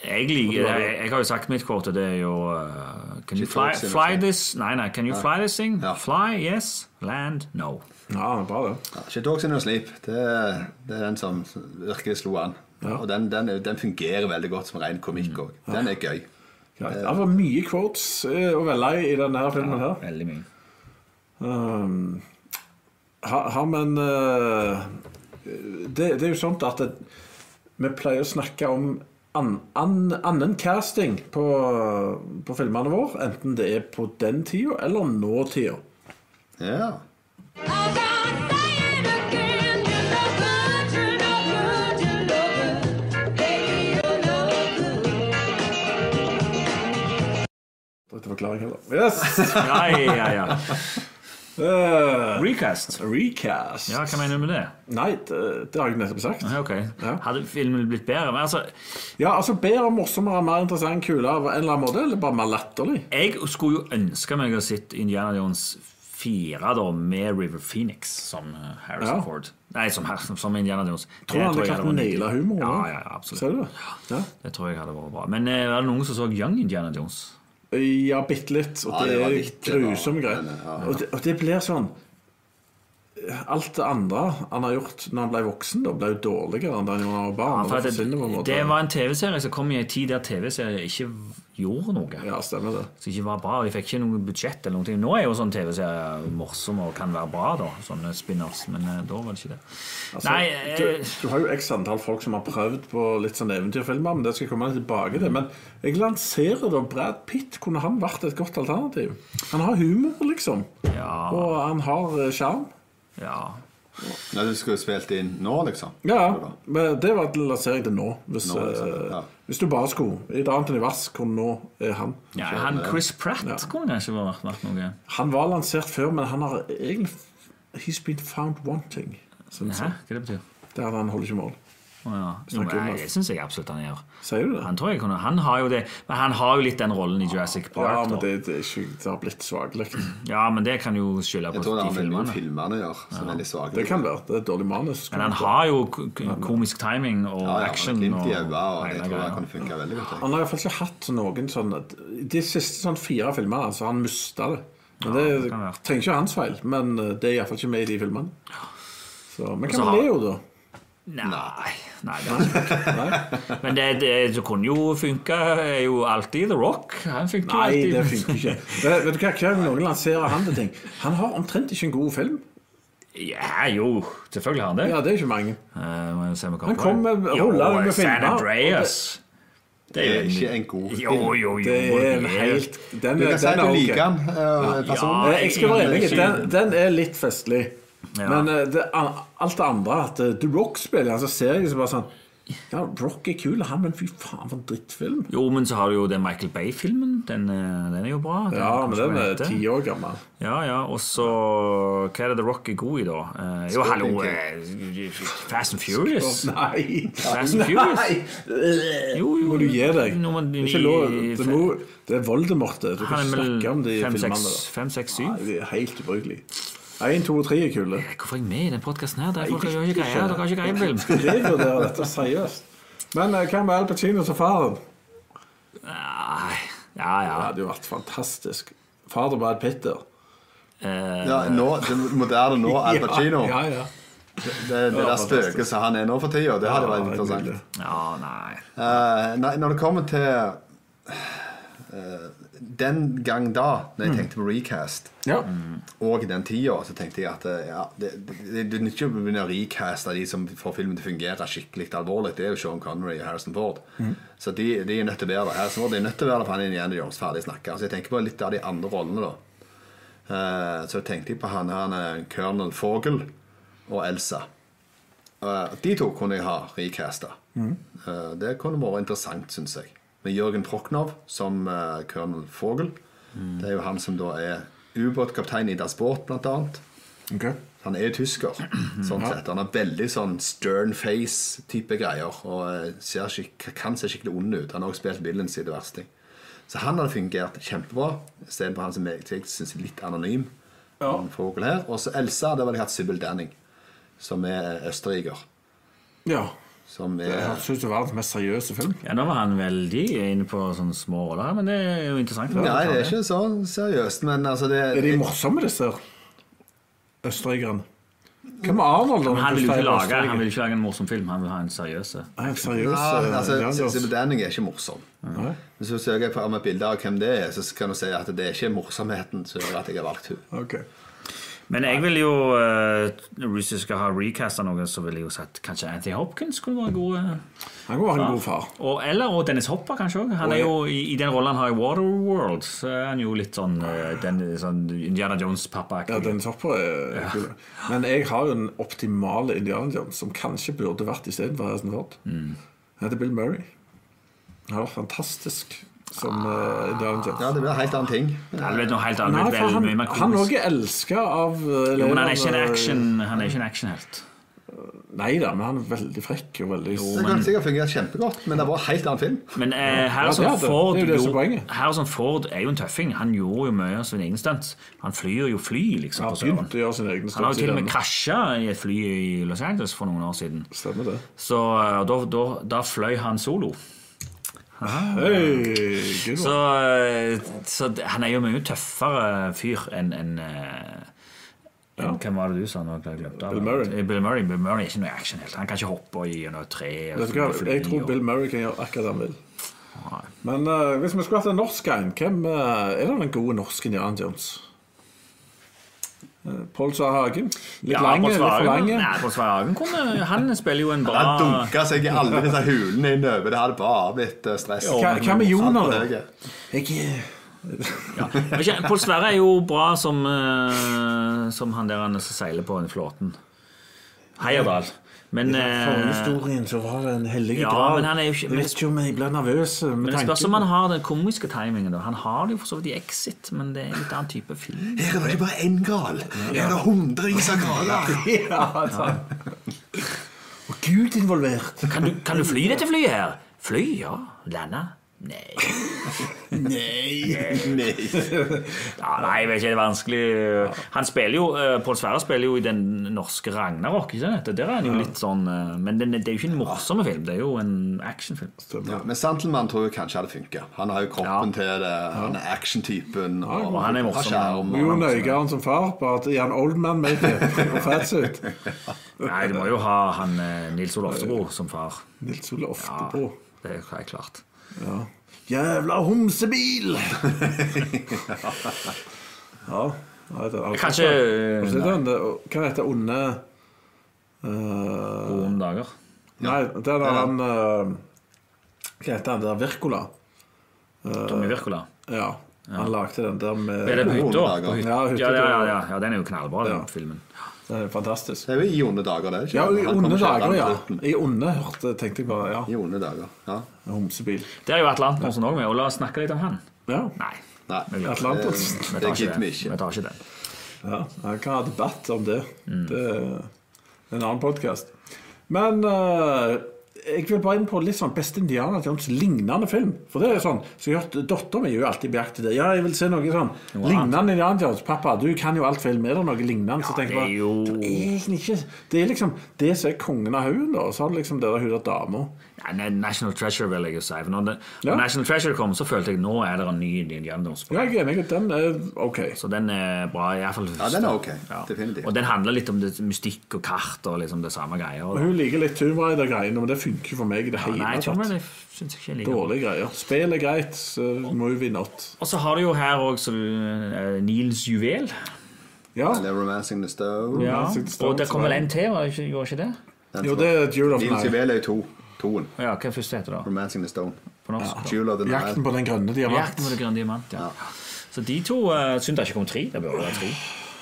Jeg, liker, jeg, jeg har jo sagt mitt kvote. Det er jo eh, Can you fly,
talks in
fly
English.
this Nei, nei. Can you fly this thing?
Ja.
Fly, yes. Land, no.
Ja, bra det.
Ja, She Talks In Her Sleep. Det, det er den som virkelig slo an. Og den, den, er- den fungerer veldig godt som ren
Mm.
komikk òg. Den er gøy.
Greit. Det var mye quotes eh, å velge i denne her filmen her.
Veldig mye.
Um, ha, ha, men eh, det, det er jo sånt at det, vi pleier å snakke om an, an, annen casting på, på filmene våre. Enten det er på den tida eller nåtida.
Ja.
Trengte forklaring heller.
(laughs)
Yes!
Ja, ja, ja.
Eh,
(laughs) Recast.
recast.
Ja, hva mener du med det?
Nei, det, det har jeg nettopp sagt.
Ja, Ok.
Ja.
Hadde filmen blitt bedre? Men altså
Ja, altså Bedre, morsommere, mer interessant, kulere på en eller annen måte. Eller bare mer latterlig.
Jeg skulle jo ønske meg å ha sett Indiana Jones 4 da, med River Phoenix som eh, Harrison
Ja.
Ford. Nei, som, Har- som Indiana Jones. Det
Tror du han hadde
jeg
klart å
hadde vært
naile
nydelig.
humoren?
Ja,
da?
ja, ja, absolutt.
Ser du det? Ja.
Det tror jeg hadde vært bra. Men eh, var det noen som så Young Indiana Jones?
Ja, bitte litt. Og
Ja,
det,
det var
er
litt, det var-
grusomme greier.
Ja, ja.
Og, det, og det blir sånn Alt det andre han har gjort når han ble voksen, da ble jo dårligere enn da han gjorde da han var barn. og
For at
det forsvinner på en
det,
måte.
det var en TV-serie som kom i en tid der TV-serier ikke gjorde noe.
Ja, stemmer det.
Som ikke var bra. De fikk ikke noe budsjett eller noe. Nå er jo sånn TV-serier morsomme og kan være bra, da. Sånne spin-offs. Men eh, da var det ikke det. Nei, eh,
Altså, du, du har jo x antall folk som har prøvd på litt sånne eventyrfilmer, men det skal jeg komme tilbake til. Men jeg lanserer da Brad Pitt. Kunne han vært et godt alternativ? Han har humor, liksom.
Ja.
Og han har eh, sjarm.
ja.
Når du skulle spilt inn nå, liksom.
Ja, men det var en lansering til nå. Hvis,
Nå, ikke sant?
eh,
Ja.
hvis du bare skulle i et annet univers hvor nå er han.
Ja, han Chris Pratt
Ja.
kunne kanskje vært, vært noe.
Han var lansert før, men han har egentlig He's been found wanting. synes
Hæ?
jeg.
Hva det betyr
Det er at han holder ikke mål.
Å, ja. Jo,
Snakker
nei,
om det.
det syns jeg absolutt han gjør.
Sier du det?
Han tror jeg kunne, han har jo det, men han har jo litt den rollen i Jurassic Park.
Ja, men
da.
det, det, er ikke, det har blitt svakelig.
ja, men det kan jo skylde på
Jeg tror det
de
har med noen
filmene.
filmene å gjøre, som er litt svake.
Det kan være. Det er et dårlig manus.
Men han har jo k- k- komisk timing og
ja, ja,
action.
Glimt
og
i øynene, og
hele
det tror jeg
greia.
kan funke veldig godt. jeg.
Han har iallfall ikke hatt noen sånne De siste sånn fire filmene, altså. Han mista det. Men det
det kan være.
trenger ikke være hans feil, men eh, det er iallfall ikke med i de filmene. Så, men
så
hva
har-
med Leo, da?
Nei. nei
(laughs)
det var ikke. Men det, det, det kunne jo funka er jo alltid. The Rock. Han funker jo
Nei,
alltid.
det funker (laughs) ikke. Det, vet du hva, Hver gang noen lanserer han til ting Han har omtrent ikke en god film.
Ja, jo. Selvfølgelig har han det.
Ja, det er ikke mange.
Eh, må jeg se om jeg
Han kom med-
Jo,
ruller med
San
filmer,
Andreas.
Det er ikke en god film.
Jo, jo, jo.
Det er en helt Den,
Du
er-
kan si at
den
du
er
liker
ok.
han eh, personlig.
Ja,
Eh, Jeg skal være enig.
Ikke-
Den, den er litt festlig.
Ja.
Men eh, det, an- alt det andre At eh, The Rock spiller, altså ser jeg så bare sånn Ja, Rock er kul, han, men fy faen, for en drittfilm.
Jo, men så har du jo den Michael Bay-filmen. Den, eh, den er jo bra.
Ja, men
kanskje
den
hva
er
heter.
ti år gammel.
Ja, ja, og så Hva er det The Rock er god i, da? Eh, jo, hallo eh, Fast and Furious.
Nei!
Fast and Furious. Jo, jo.
Må du gi deg?
Nå må du-
Det er ikke lov. Det, må, det er Voldemort. det. Du kan
Han er
ikke
vel
snakke om de
fem,
filmene.
seks-
der.
fem, seks, syv?
Nei, det er helt ubrukelig. 1, 2 og 3 er kule.
Hvorfor er jeg med i den podkasten her? Dere
Nei,
dere har ikke
ikke.
greie- dere har ikke greie på
(laughs)
film.
Revurderer dette seriøst. Men eh, hva med Al Pacino som faren?
Nei, Ja, ja.
Det hadde jo vært fantastisk. Fader Brad Pitter.
Eh,
Ja, nå, det moderne nå, Al Pacino.
Ja, ja.
Det, det der spøket som han er nå for tida, det hadde vært interessant.
nydelig.
ja nei.
Eh, nei, når det kommer til eh, Den gang da, når jeg tenkte på recast,
ja.
og den tida, så tenkte jeg at eh, ja, det, det, det, det nytter ikke å begynne å recaste de som får filmen til å fungere skikkelig alvorlig. Det er jo Sean Connery og Harrison Ford. Så de, de er nødt til å være det. Harrison Ford er nødt til å være det, for han er Indiana Jones ferdig snakka. Så jeg tenker på litt av de andre rollene, da. Eh, så tenkte jeg på han her, eh, Colonel Fogel og Elsa. Eh, de to kunne jeg ha recasta. Eh, det kunne vært interessant, syns jeg. Med Jørgen Prokhnow som eh, Colonel Fogel. Det er jo han som da er ubåtkaptein i Das Boot, blant annet.
Ok.
Han er jo tysker, sånn sett. Han har veldig sånn stern face-type greier. Og eh, ser skik kan se skikkelig ond ut. Han har også spilt villains i det verste. Så han hadde fungert kjempebra, istedenfor han som jeg syns er litt anonym. en Fogel her. Og så Elsa, der hadde jeg hatt Sybil Danning, som er eh, østerriker.
ja.
Som
Det
er
høres ut som verdens mest seriøse film.
Ja, nå var han veldig inne på sånne små roller, men det er jo interessant.
Nei, det er ikke så seriøst, men altså det
Er de morsomme, disse her? Østerrikerne? Hva med Arnold? da?
Men han vil jo ikke
Feil
lage,
Østerrike.
han vil ikke lage en morsom film, han vil ha en seriøs
Nei, en seriøs
Ja,
eh,
altså,
Daniels.
Sybil Danning er ikke morsom.
Nei.
Hvis du søker på med bilder av hvem det er, så kan du si at det er ikke morsomheten som gjør at jeg har valgt henne.
Ok.
Men jeg vil jo eh, Hvis jeg skal ha recasta noe, så ville jeg jo sagt kanskje Anthony Hopkins kunne være god. eh,
Han går være en god far.
Og, eller og Dennis Hopper, kanskje òg. Han er jo i, i den rollen han har i Waterworld, så er han jo litt sånn, eh, den, sånn Indiana
Ja,
Jones-pappa-aktig.
den topper er kul. Men jeg har jo den optimale Indiana Jones, som kanskje burde vært istedenfor Harrison Ford. Han
Mm.
heter Bill Murray. Han har vært fantastisk som
Ah.
eh, Indiana Jones.
Ja, det blir en helt annen ting.
Ja, du vet noe helt annet.
Nei,
vel,
for han,
mye mer komisk.
han også er elska av eh,
Jo, men han er ikke en
lederne-
action Han er ikke en actionhelt.
Nei da, men han er veldig frekk og veldig
Det kan sikkert fungere kjempegodt, men det var en helt annen film.
Men eh, Harrison,
Ja, det er det.
Ford,
Det er jo det som er
gjorde-
poenget.
Harrison Ford er jo en tøffing. Han gjorde jo mye av sine egne stunts. Han flyr jo fly, liksom.
Han
for søren.
begynte å gjøre sine egne
Han har jo til og med
stunts.
krasja i et fly i Los Angeles for noen år siden.
Stemmer det.
Så eh, da, da, da fløy han solo.
Hei, good
Så,
one.
eh, så det- han er jo mye tøffere fyr enn enn, eh, enn- Hvem var det du sa nå? Jeg glemte det.
Bill Murray.
Eh, Bill Murray. Bill Murray er ikke noe action helt. Han kan ikke hoppe i noe tre. og
Vet du hva,
fly
jeg tror
og-
Bill Murray kan gjøre akkurat det han vil. Men eh, hvis vi skulle hatt en norsk en, hvem eh, er det den gode norske Indiana Jones? Uh, Pål Svar Hagen? Litt
Ja,
lang,
på
litt for lang.
Svarhagen- Nei, på Svarhagen kunne Han
(laughs)
spiller jo en
Han
Ah.
bra
dunka seg i alle disse hulene innover. Det hadde bare blitt eh, stress.
Hva hva med
Alt
Joner,
for
da?
høye.
Jeg eh, (laughs)
Men ikke- Pål Sverre er jo bra som, eh, som han der han som seiler på den flåten. Heierdal. Men eh,
Forhistorien så var det en hellig
Ja,
gral.
men han er jo ikke-
Jeg vet ikke om jeg blir nervøs eh, med
men det spørs om
tanken.
han har den komiske timingen. da Han har det jo for så vidt i Exit, men det er en litt annen type film.
Her er det ikke bare én gral. Her er det hundrevis av graler.
Ja, sant. Og Gud involvert.
Kan du, kan du fly dette flyet her? Fly, ja. Lande? Nei.
(laughs)
(laughs)
Nei!
Ja, nei, jeg vet ikke, det er vanskelig. Han spiller jo, eh, Pål Sverre spiller jo i den norske Ragnarok. ikke sant? Der er han jo litt sånn eh, Men den, det er jo ikke en morsom film, det er jo en actionfilm.
Ja, men Santelmann tror jeg kanskje hadde funka. Han har jo kroppen
Ja.
til det. Han er actiontypen. Og
og han er
har
morsom.
skjerm. og-
Jo nøyere han som far, bare at Jan Oldman med det, og fatsuit.
Nei, du må jo ha han eh, Nils Ole Oftebro som far.
Nils Ole
Ja,
Oftebro.
det er klart.
Jævla (laughs) homsebil! ja. Nei, det er
Kanskje eh,
Og så er det den der- Hva heter det onde eh,
Gode dager.
Nei, det er der han eh, Hva heter han der? Virkola.
Tommy Wirkola.
Ja. Han lagde den der med
Er det på hytta?
Gode dager.
På hytta.
Ja, hytta,
Ja, ja,
ja.
ja, ja, den er jo knallbra, den
Ja.
filmen.
Den er fantastisk.
Det er jo i onde dager, det. er ikke
Ja,
det?
i
Han
onde
kommer
dager,
kjørende
ja.
på slutten.
I onde, hørte, tenkte jeg bare. Ja,
I onde dager. Ja.
homsebil.
Der er jo Atlantersen òg med, og la oss snakke litt om han.
Ja.
Nei.
Nei. Eh,
vi gjør ikke det.
Atlantis.
Vi
Det
tar ikke
gidder vi ikke.
Vi tar ikke den.
Ja, jeg kan ha debatt om det.
Mm.
Det er en annen podkast. Men eh, jeg vil bare inn på litt sånn Beste Indiana Jones lignende film. For det er jo sånn, så jeg har hørt Dattera mi er jo alltid på jakt etter det. Ja, jeg vil se noe sånn lignende Indiana Jones. Pappa, du kan jo alt film. Er det noe lignende? så tenker jeg bare,
Ja, det er jo-
det er egentlig ikke Det er liksom det som er kongen av haugen, da. Og så har du liksom det der hun der dama.
Ja, nei, National Treasure, vil jeg jo si. For når, det,
Ja.
når National Treasure kom, så følte jeg nå er det en ny Indiana Jones.
Ja, jeg er enig i at den er OK.
Så den er bra. i hvert fall
Ja, den er ok. Definitivt.
Og den handler litt om det, mystikk og kart og liksom det samme greia.
Og
Og,
Hun liker litt Tomb Raider-greiene, men det funker jo for meg i det hele
nei, Tomb
tatt.
Raider syns jeg ikke jeg liker.
Dårlige greier. Spill er greit, så movie not.
Og så har du jo her også eh, Nils juvel.
Ja.
Eller Romancing the Stone.
Ja.
Nils Juvel.
Og det kommer vel en til, var det ikke- gjorde ikke det?
Den
Jo,
som-
det er et Jewel of the
Nils
Nile.
Juvel er jo to. Toen.
Ja, hva er første heter det?
Romancing the Stone.
På norsk? da?
Jewel of the
Jakten
Nile.
på den grønne diamant.
Jakten på det grønne diamant, ja. Så de to uh, synd det ikke kom tre. Det burde være tre.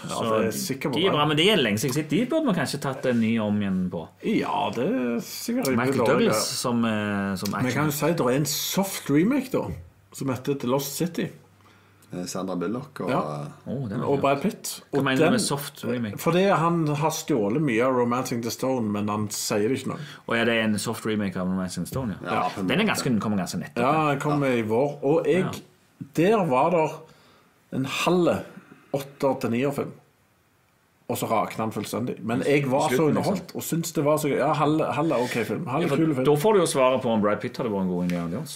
for jeg er sikker på
de er
det.
bra, men de er lenge siden. sist. De burde vi kanskje tatt en ny om igjen på.
Ja, det er sikkert rimelig
Michael
dårlig.
Douglas som, eh, som
Men jeg
action.
kan jo si det er en soft remake, da. Som heter The Lost City.
Eh, Sandra Bullock og eh,
Ja.
Åh, den er
Og
bra.
Brad Pitt.
Hva
Og
mener du med soft remake?
Fordi han har stjålet mye av 'Romancing the Stone', men han sier det ikke noe.
Og er det en soft remake av Romancing Stone? Ja.
Ja, på en
den er
måte.
ganske, den kommer ganske nettopp.
Ja, han kom i vår. Og jeg Der var det en halv åtter til nier-film. Og så rakna han fullstendig. Men jeg var så
Slutten,
underholdt og syntes det var så gøy. Ja, halv halv er OK film. Halv er kul film.
liksom. Da får du jo svaret på om Brad Pitt hadde vært en god Indiana Jones.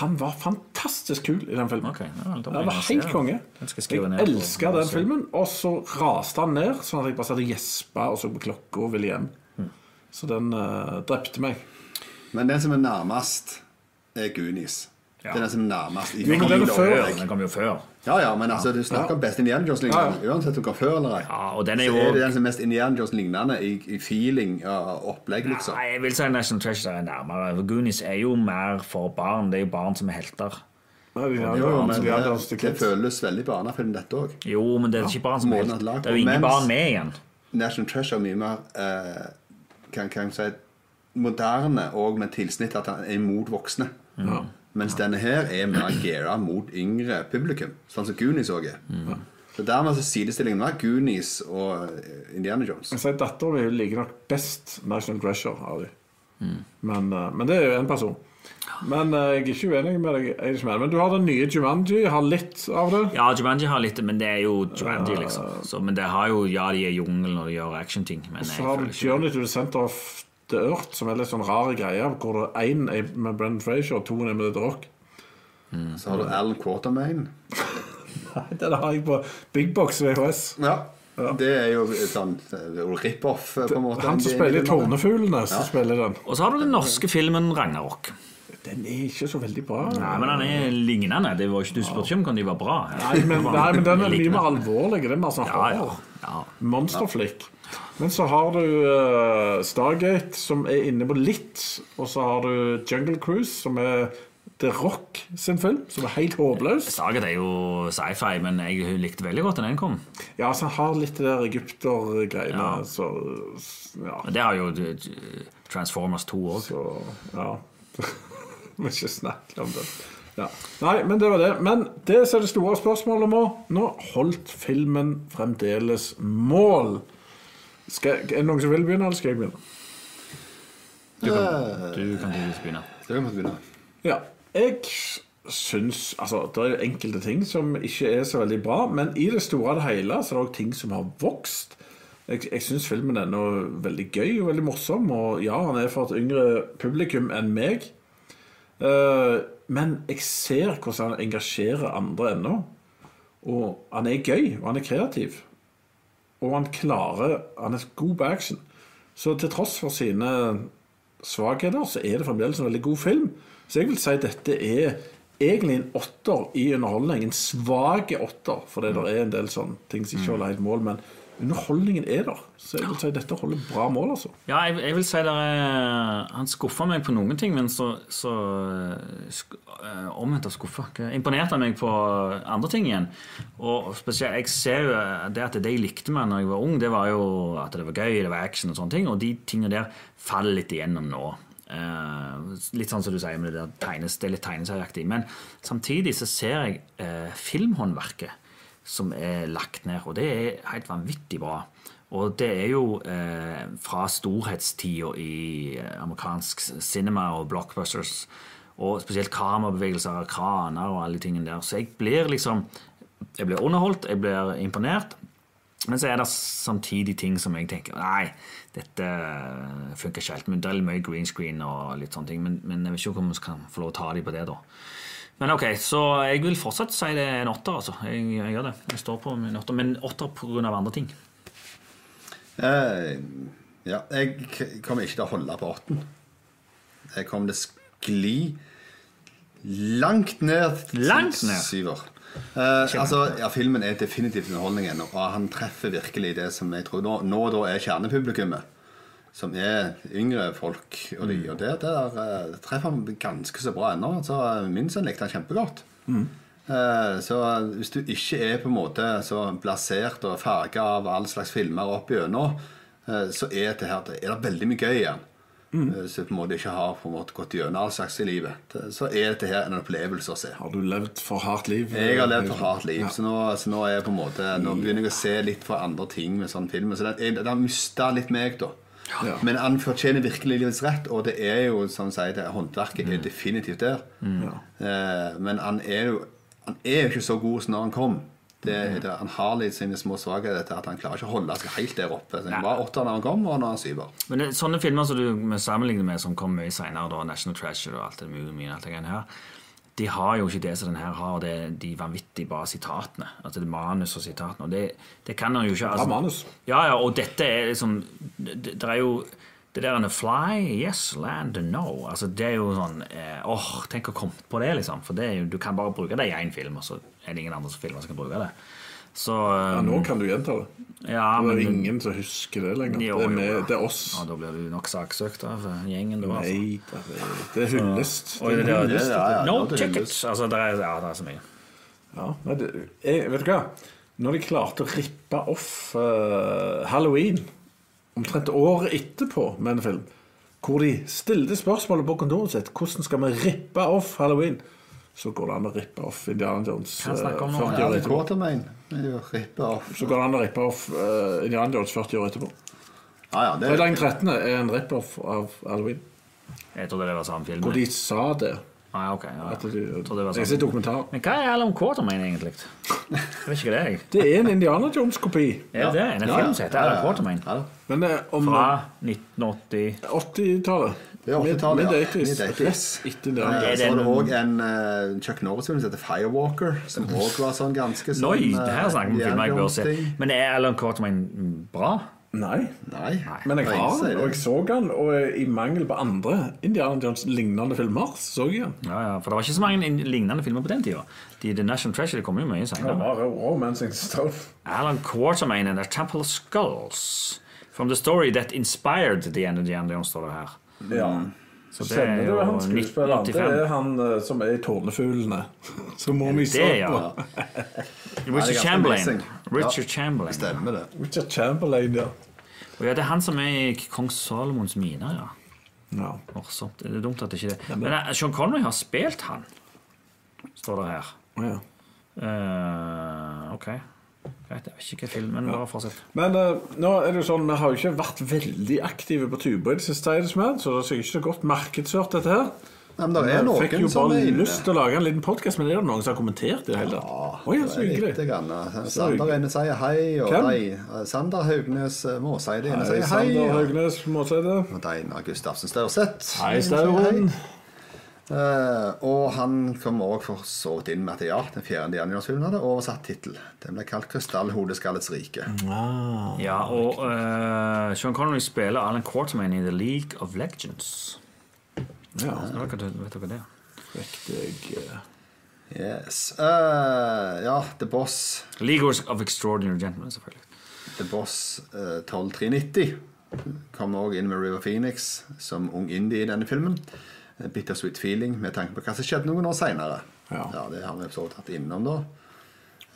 Han var fantastisk kul i den filmen.
Ok, ja, da
han
må jeg
var
se
helt
den.
konge.
Den skal jeg
Jeg
skrive ned på-
elska
på
den
se.
filmen, og så raste han ned, sånn at jeg bare satt og gjespa og så på klokka og ville hjem.
Hmm.
Så den eh, drepte meg.
Men den som er nærmest, er Goonies.
Ja.
Det er den som er nærmest i
men
tid
den er
og
før. altså.
øyeblikk.
Den kom jo før.
Ja, ja, men altså, du snakker om best Indiana Jones-lignende.
Ja,
Uansett om hva før eller ei.
Ja, og den er
så
jo-
er det den som er mest Indiana Jones-lignende i, i feeling og opplegg, liksom.
Nei, jeg vil si National Treasure er nærmere. For Goonies er jo mer for barn. Det er jo barn som er helter.
Nei, de
Jo,
hadde,
jo,
altså-
men
de hadde hans
det,
til
det
kids.
føles veldig barnefilm, dette òg.
Jo, men det er ikke barn som er
Måten at
helter.
lag-
Det er jo ingen
mens-
barn med igjen.
National Treasure er mye mer eh, kan, kan jeg si, moderne og med tilsnitt at han er mot voksne. Mens denne her er mer gearet mot yngre publikum, sånn som Goonies òg er.
Mm.
Så Dermed så sidestillingen var Goonies og eh, Indiana Jones.
Jeg sier Dattera mi liker nok best National Treasure av de.
Mm.
Men, eh, men det er jo én person. Men eh, jeg er ikke uenig med deg. Eidsmell. Men du har den nye Jumanji. Har litt av det.
Ja, Jumanji har litt, men det er jo Jumanji, liksom. Så, men det har jo Ja, de er i jungelen og de gjør actionting, men jeg
Så har
føler
du
ikke
Journey to the Center of the Earth, som er litt sånn rare greier, hvor det én er med Brendan Frazier, og to er med The Rock. (laughs)
Så har du Alan Quartermain.
Nei, Den har jeg på Big Box VHS.
Ja. Det er jo et sånt eh, rip-off, eh, på en måte.
Han som spiller i Tårnefuglene, som spiller den.
Og så har du den norske filmen Ragnarok.
Den er ikke så veldig bra.
Nei, men han er lignende. Det var ikke, du spurte ikke om kan de var bra.
Nei,
(laughs)
men, nei, men den er mye
Lignende.
mer alvorlig. Den er mer sånn
Ja, ja.
horror.
ja.
Monsterflick. Men så har du eh, Stargate, som er inne på litt. Og så har du Jungle Cruise, som er The Rock sin film, som er helt håpløs.
Stargate er jo sci-fi, men jeg likte veldig godt da den kom.
Ja, altså han har litt det der egyptergreiene.
Ja.
Så ja.
Men det har jo eh, Transformers 2 òg.
Så, ja. (laughs) Må ikke snakke om det. Ja. Nei, men det var det. Men det som er det store spørsmålet nå Nå holdt filmen fremdeles mål. Skal, er det noen som vil begynne, eller skal jeg begynne?
Du kan tydeligvis begynne.
Det kan vi begynne.
Ja. Jeg syns Altså, det er enkelte ting som ikke er så veldig bra, men i det store og det hele så er det òg ting som har vokst. Jeg, jeg syns filmen er nå veldig gøy og veldig morsom, og ja, han er for et yngre publikum enn meg. Eh, men jeg ser hvordan han engasjerer andre ennå. Og han er gøy, og han er kreativ. Og han klarer Han er god på action. Så til tross for sine svakheter, så er det fremdeles en veldig god film. Så jeg vil si dette er egentlig en åtter i underholdning. En svak åtter, fordi det er en del sånne ting som ikke holder helt mål. Men underholdningen er der. Så jeg vil si dette holder bra mål, altså.
Ja, jeg, jeg vil si der er, Han skuffa meg på noen ting, men så, så sk, eh, omvendt av skuffa. Hva- Imponerte han meg på andre ting igjen. Og spesielt, jeg ser jo eh, det at det jeg likte med når jeg var ung, det var jo at det var gøy, det var action og sånne ting. Og de tingene der faller litt igjennom nå. Eh, litt sånn som du sier med det der tegnes, det er litt tegneserieaktig. Men samtidig så ser jeg eh, filmhåndverket som er lagt ned. Og det er helt vanvittig bra. Og det er jo eh, fra storhetstida i eh, amerikansk cinema og blockbusters, og spesielt kamerabevegelser og kraner og alle de tingene der. Så jeg blir liksom Jeg blir underholdt, jeg blir imponert. Men så er det samtidig ting som jeg tenker Nei, dette eh, funker ikke helt. Men det er litt mye green screen og litt sånne ting. Men, men jeg vet ikke om vi kan få lov å ta dem på det, da. Men ok, så jeg vil fortsatt si det er en åtter, altså. Jeg, jeg gjør det. Jeg står på min åtter. Men åtter pga. andre ting.
Eh, ja, jeg k- kommer ikke til å holde på åtten. Jeg kommer til å skli langt ned til
Langt ned?
syver. Eh, altså, ja, filmen er definitivt underholdningen, og han treffer virkelig det som jeg tror nå, nå da er kjernepublikummet. Som er yngre folk. Og de, og det der eh, treffer han ganske så bra ennå. Så eh, min sønn likte han kjempegodt. Eh, Så hvis du ikke er på en måte så blasert og farga av all slags filmer opp gjennom, eh, så er det her er det veldig mye gøy igjen. Eh, Så på en måte ikke har på en måte gått gjennom all slags i livet. Det- Så er dette her en opplevelse å se.
Har du levd for hardt liv?
Jeg har levd et hardt liv, så, nå, så nå, er jeg på en måte, nå begynner jeg å se litt på andre ting med sånne filmer. Så den- jeg- den har mista litt meg, da.
Ja.
Men han fortjener virkelig livets rett, og det er jo, som sier, det, håndverket er definitivt der. Eh, men han er, jo, han er jo ikke så god som når han kom. Det, er det, han har litt sine små svakheter til at han klarer ikke å holde seg helt der oppe. Så
Nei.
han var åtter når han kom, og nå er han syver.
Men det, sånne filmer som du må sammenligne med, som kom mye senere, da, National Treasure og alt det mye, mye, alt det greiene her, de har jo ikke det som den her har, det, er de vanvittig bra sitatene. Altså det er manus og sitatene. Og det, det kan han jo ikke. Altså,
manus.
Ja, ja, og dette er liksom Det, det det er jo det der med fly, yes, land, no altså Det er jo sånn eh, åh, Tenk å komme på det, liksom. For det er jo, du kan bare bruke det i én film, og så er det ingen andre som filmer som kan bruke det. Så
Ja,
eh,
nå kan du gjenta det.
ja,
det
men-
er ingen som husker det lenger.
Jo,
det, er
jo,
med,
ja.
det er oss.
Ja, da blir du nok saksøkt av gjengen. Du, altså.
Nei, det er, det er hyllest.
Oi, det
er
der-
hyllest.
Ja, ja, nå
No
er det
tickets!
hyllest.
Altså, det er, ja, det er så mye.
Ja, nei, det, jeg, vet du hva? Når de klarte å rippe off eh, Halloween omtrent året etterpå med en film, hvor de stilte spørsmålet på kontoret sitt hvordan skal vi rippe off Halloween, så går det an å rippe off Indiana Jones
Hva snakker vi om nå?
eh, 40
Ja,
år
det
etterpå.
går til meg inn. Jeg ripper opp.
Så går det an å rippe off eh, Indiana Jones 40 år etterpå.
Ja, ja, det,
Fredag den 13. er en rip-off av Halloween.
Jeg trodde det var samme film.
Hvor de sa det.
Nei, ok. Ja,
At de,
jeg trodde det
jeg
var sånn.
har sett
samme.
dokumentar.
Men hva er Alan Quartermain egentlig? Jeg vet ikke det, jeg.
Det er en Indiana Jones-kopi.
Er det en
Ja,
film som heter
ja,
Alan
ja,
Quartermain?
Ja, da.
Men eh, om
Fra 1980
80-tallet.
Det er 80-tallet,
Mid-
ja.
mid-eighties.
Mid-eighties.
Rett etter Indiana
Ja,
Jones.
det er
Eh, Så var det
den-
òg en eh, Chuck Norris-film som heter Firewalker, som òg var sånn ganske sånn
Noi, det her
eh,
snakker vi om filmer jeg bør se.
jernbaneting.
Men er Alan Quartermain bra?
Nei.
Nei.
Men jeg har
Nei,
den, og jeg så den, og i mangel på andre Indiana Jones-lignende filmer, så jeg den.
Ja, ja, For det var ikke så mange in- lignende filmer på den tida. De, The National Treasure det kom jo mye senere.
Romancing stuff.
Alan Quartermain and the Temple of Skulls. From the story that inspired the End of the End, Jones, står det her.
Mm.
Ja.
Så det
Kjenner
er
du
jo
han skuespilleren? Det
1985.
er han eh, som er i Tårnefuglene. (laughs) Som må vi så
Det, ja.
på.
det er
(laughs) Richard
ganske
Chamberlain.
amazing.
Richard
Ja.
Chamberlain.
Stemmer det.
Richard Chamberlain, ja.
Og ja, det er han som er i Kong Salomons miner, ja.
ja.
Morsomt. Det er dumt at det ikke er det. Men eh, Sean Connery har spilt han, står det her.
Å, ja.
Eh, ok. Greit, jeg vet ikke hva filmen var. Fortsett.
Men eh, nå er det jo sånn, vi har jo ikke vært veldig aktive på tuber i det siste, Eidsmed, så det er sikkert ikke så godt markedsført, dette her.
Nei, men det er
Jeg
noen
fikk jo
som
bare
er inne.
lyst til å lage en liten podkast, men er det noen som har kommentert det i det hele tatt? Oi,
det
så
er
hyggelig.
lite grann, eh,
Så hyggelig.
Sander er inne og sier hei, og
Hvem?
de eh, Sander Haugnes eh, Måseide er inne og
Hei,
sier
Sander
hei. og-
Haugnes Måseide.
Og Deinar Gustavsen Staurseth.
Hei,
er inne og sier
Stauren.
Eh, og han kom òg for så vidt inn med at ja, den fjerde januarsfilmen hadde oversatt tittel. Den ble kalt 'Krystallhodeskallets rike'.
Mm.
Ja, og eh, Sean Connery spiller Alan Quarterman i The League of Legends.
Ja,
Ja, Vet dere vet dere det?
riktig. eh,
Yes. Eh, ja, The Boss.
League of Extraordinary Gentlemen, selvfølgelig.
The Boss eh, 12390 kom òg inn med River Phoenix som ung indie i denne filmen. Eh, Bittersweet feeling med tanke på hva som skjedde noen år seinere.
Ja.
det har vi så tatt innom, da.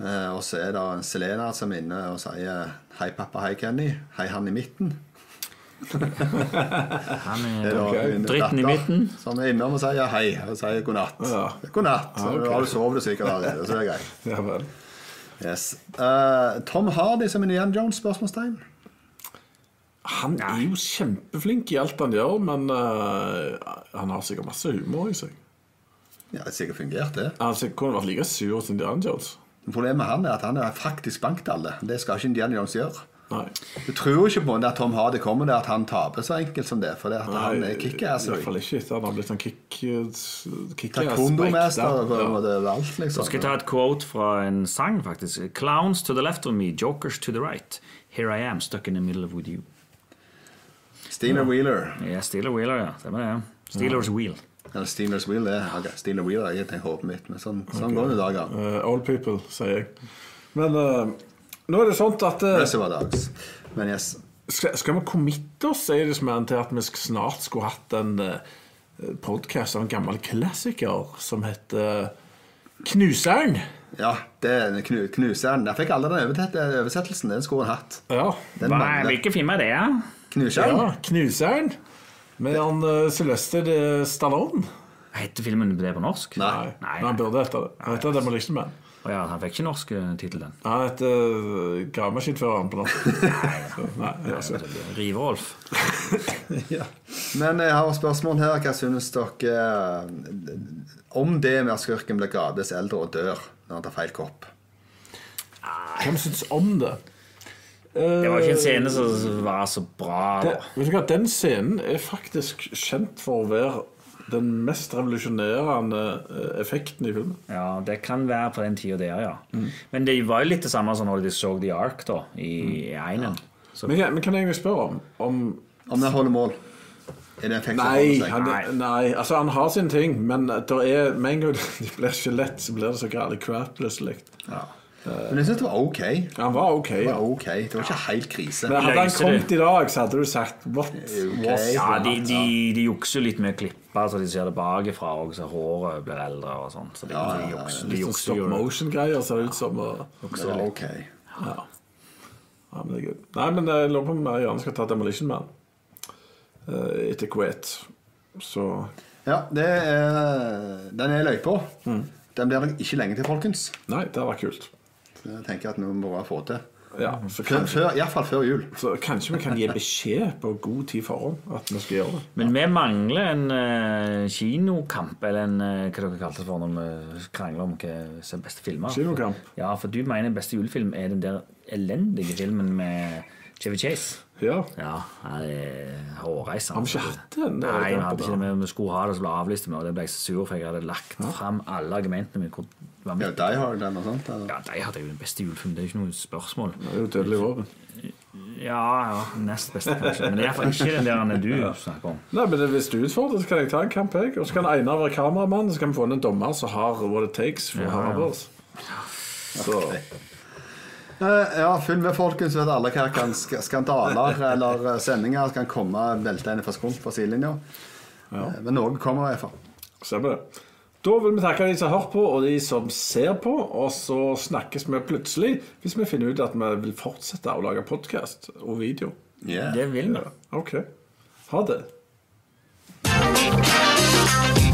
Eh, og så er det en Selena som er inne og sier 'Hei, pappa. Hei, Kenny. Hei, han i midten'.
Han
Det er
er,
da min
Dritten i
datter
midten.
Som er innom og sier hei og sier god natt.
Ja.
God natt. Så
Ja, ok.
da har du sovet sikkert allerede, så det er greit.
Ja vel.
Yes. Eh, Tom Hardy som Indian Jones? spørsmålstegn.
Han er jo kjempeflink i alt han gjør, men eh, han har sikkert masse humor i seg.
Ja, det sikkert fungert, det.
Altså, kunne vært like sur som Indiana Jones.
Men Problemet med han er at han er faktisk bankt alle. Det skal ikke Indian Jones gjøre.
Nei.
Du tror ikke på det at Tom Hardy kommer der at han taper så enkelt som det, for det at han er kickass. altså.
I hvert fall ikke etter han har blitt sånn kick... eh, kick
Taekwondo-mester og overalt, liksom.
Skal jeg ta et quote fra en sang, faktisk? Clowns to the left of me, jokers to the right. Here I am, stuck in the middle of with you.
Steamer Wheeler.
Ja, Steeler Wheeler, ja. Stemmer det. ja. Steelers Wheel.
Eller Steamers Wheel, det. Okay. Steamer Wheeler er egentlig håpet mitt, men sånn, sånn går det i dag. ja.
old Eh, people, sier jeg. Men eh, nå er det sånt at eh,
Reservoir Dogs. Men yes.
skal, skal vi committe oss, sier det som er, til at vi sk- snart skulle hatt en uh, podkast av en gammel klassiker som heter eh, Knuseren?
Ja, det er en knu, knuseren. Jeg fikk aldri den overtett- oversettelsen. Den skulle han hatt.
Ja.
Den
Nei,
mangler.
Hvilken film er det? ja?
Knuseren?
ja knuseren. Med han eh, Sylvester eh, Stallone.
Heter filmen det på norsk?
Nei.
Nei.
Men han burde hete det. liksom Han heter Demolition Man.
Å ja, han fikk ikke norsk eh, tittel, den.
Han heter eh, Gravemaskinføreren på norsk. Så, nei, ja,
Altså,
så.
Rive-Rolf. (laughs)
Ja. Men jeg har et spørsmål her. Hva synes dere eh, om det med at skurken blir gradvis eldre og dør når han tar feil kopp?
Hvem syns om det? Eh,
Det var ikke en scene som var så bra.
Det,
Da.
vet du hva, Den scenen er faktisk kjent for å være den mest revolusjonerende eh, effekten i filmen.
Ja, Det kan være på den tida der, ja.
Mm.
Men det var jo litt det samme som når de så The Ark da, i
Mm.
Einen. Så,
Men, jeg- men kan jeg egentlig spørre om, om
Om den holder mål? Er det en effekt som
Nei,
holder seg?
han, nei, altså han har sine ting, men det er, med en gang (laughs) det blir skjelett, så blir det så gale crap plutselig.
Ja. Men jeg synes det var ok.
Han var ok.
Det
Ja.
var ok. Det var ikke helt krise.
Men hadde han
Løser
kommet i dag, så hadde du sagt what
Ok.
was
ja, de, de, de jukser jo litt med å klippe, så de ser det bakifra, og så håret blir eldre og sånn. Så de, de jukser, de
Litt sånn
jukser
stop
jo.
motion-greier ser det ut som. Og,
Det var ok.
ja. Ja, men det er gøy. Nei, men jeg lurer på om jeg gjerne skal ta Demolition Man eh, etter Kuwait. Så
Ja, det er, den er løypa.
Mm.
Den blir nok ikke lenge til, folkens.
Nei, det hadde vært kult.
Jeg tenker at nå må vi bare få til.
Ja, så
Før,
kanskje,
før, Iallfall før jul.
så kanskje vi kan gi beskjed på god tid forhånd at vi skal gjøre det.
Men vi mangler en eh, kinokamp, eller en eh, hva dere kalte det for når vi krangler om hva som er beste filmer.
Kinokamp?
Ja, for du mener beste julefilm er den der elendige filmen med Chevy Chase.
Ja.
Ja, han er hårreisende.
Har vi ikke hatt den?
Nei, vi hadde ikke det. men Vi skulle ha det, så ble jeg avlyst med, og det ble jeg så sur, for jeg hadde lagt fram alle argumentene mine. Hvor
Ja,
vanvittig.
de har den og sånt. eller?
Ja, de hadde jo den beste julefilmen, det er jo ikke noe spørsmål.
Det er jo dødelig våpen.
Ja, ja, nest beste kanskje, men det er iallfall ikke den der han er du snakker om.
Nei, men det- Hvis du utfordrer, så kan jeg ta en kamp, jeg. Og så kan Einar være kameramann, så kan vi få inn en dommer som har what it takes for å ha med oss. Så
Eh, Ja, følg med, folkens. Vet alle hva kan sk- skandaler eller eh, sendinger kan komme veltende fra skump fra sidelinja. Eh, Men noe kommer iallfall.
stemmer det. Da vil vi takke de som har hørt på, og de som ser på. Og så snakkes vi plutselig hvis vi finner ut at vi vil fortsette å lage podkast og video.
Yeah.
Det vil vi.
OK. Ha det.
You're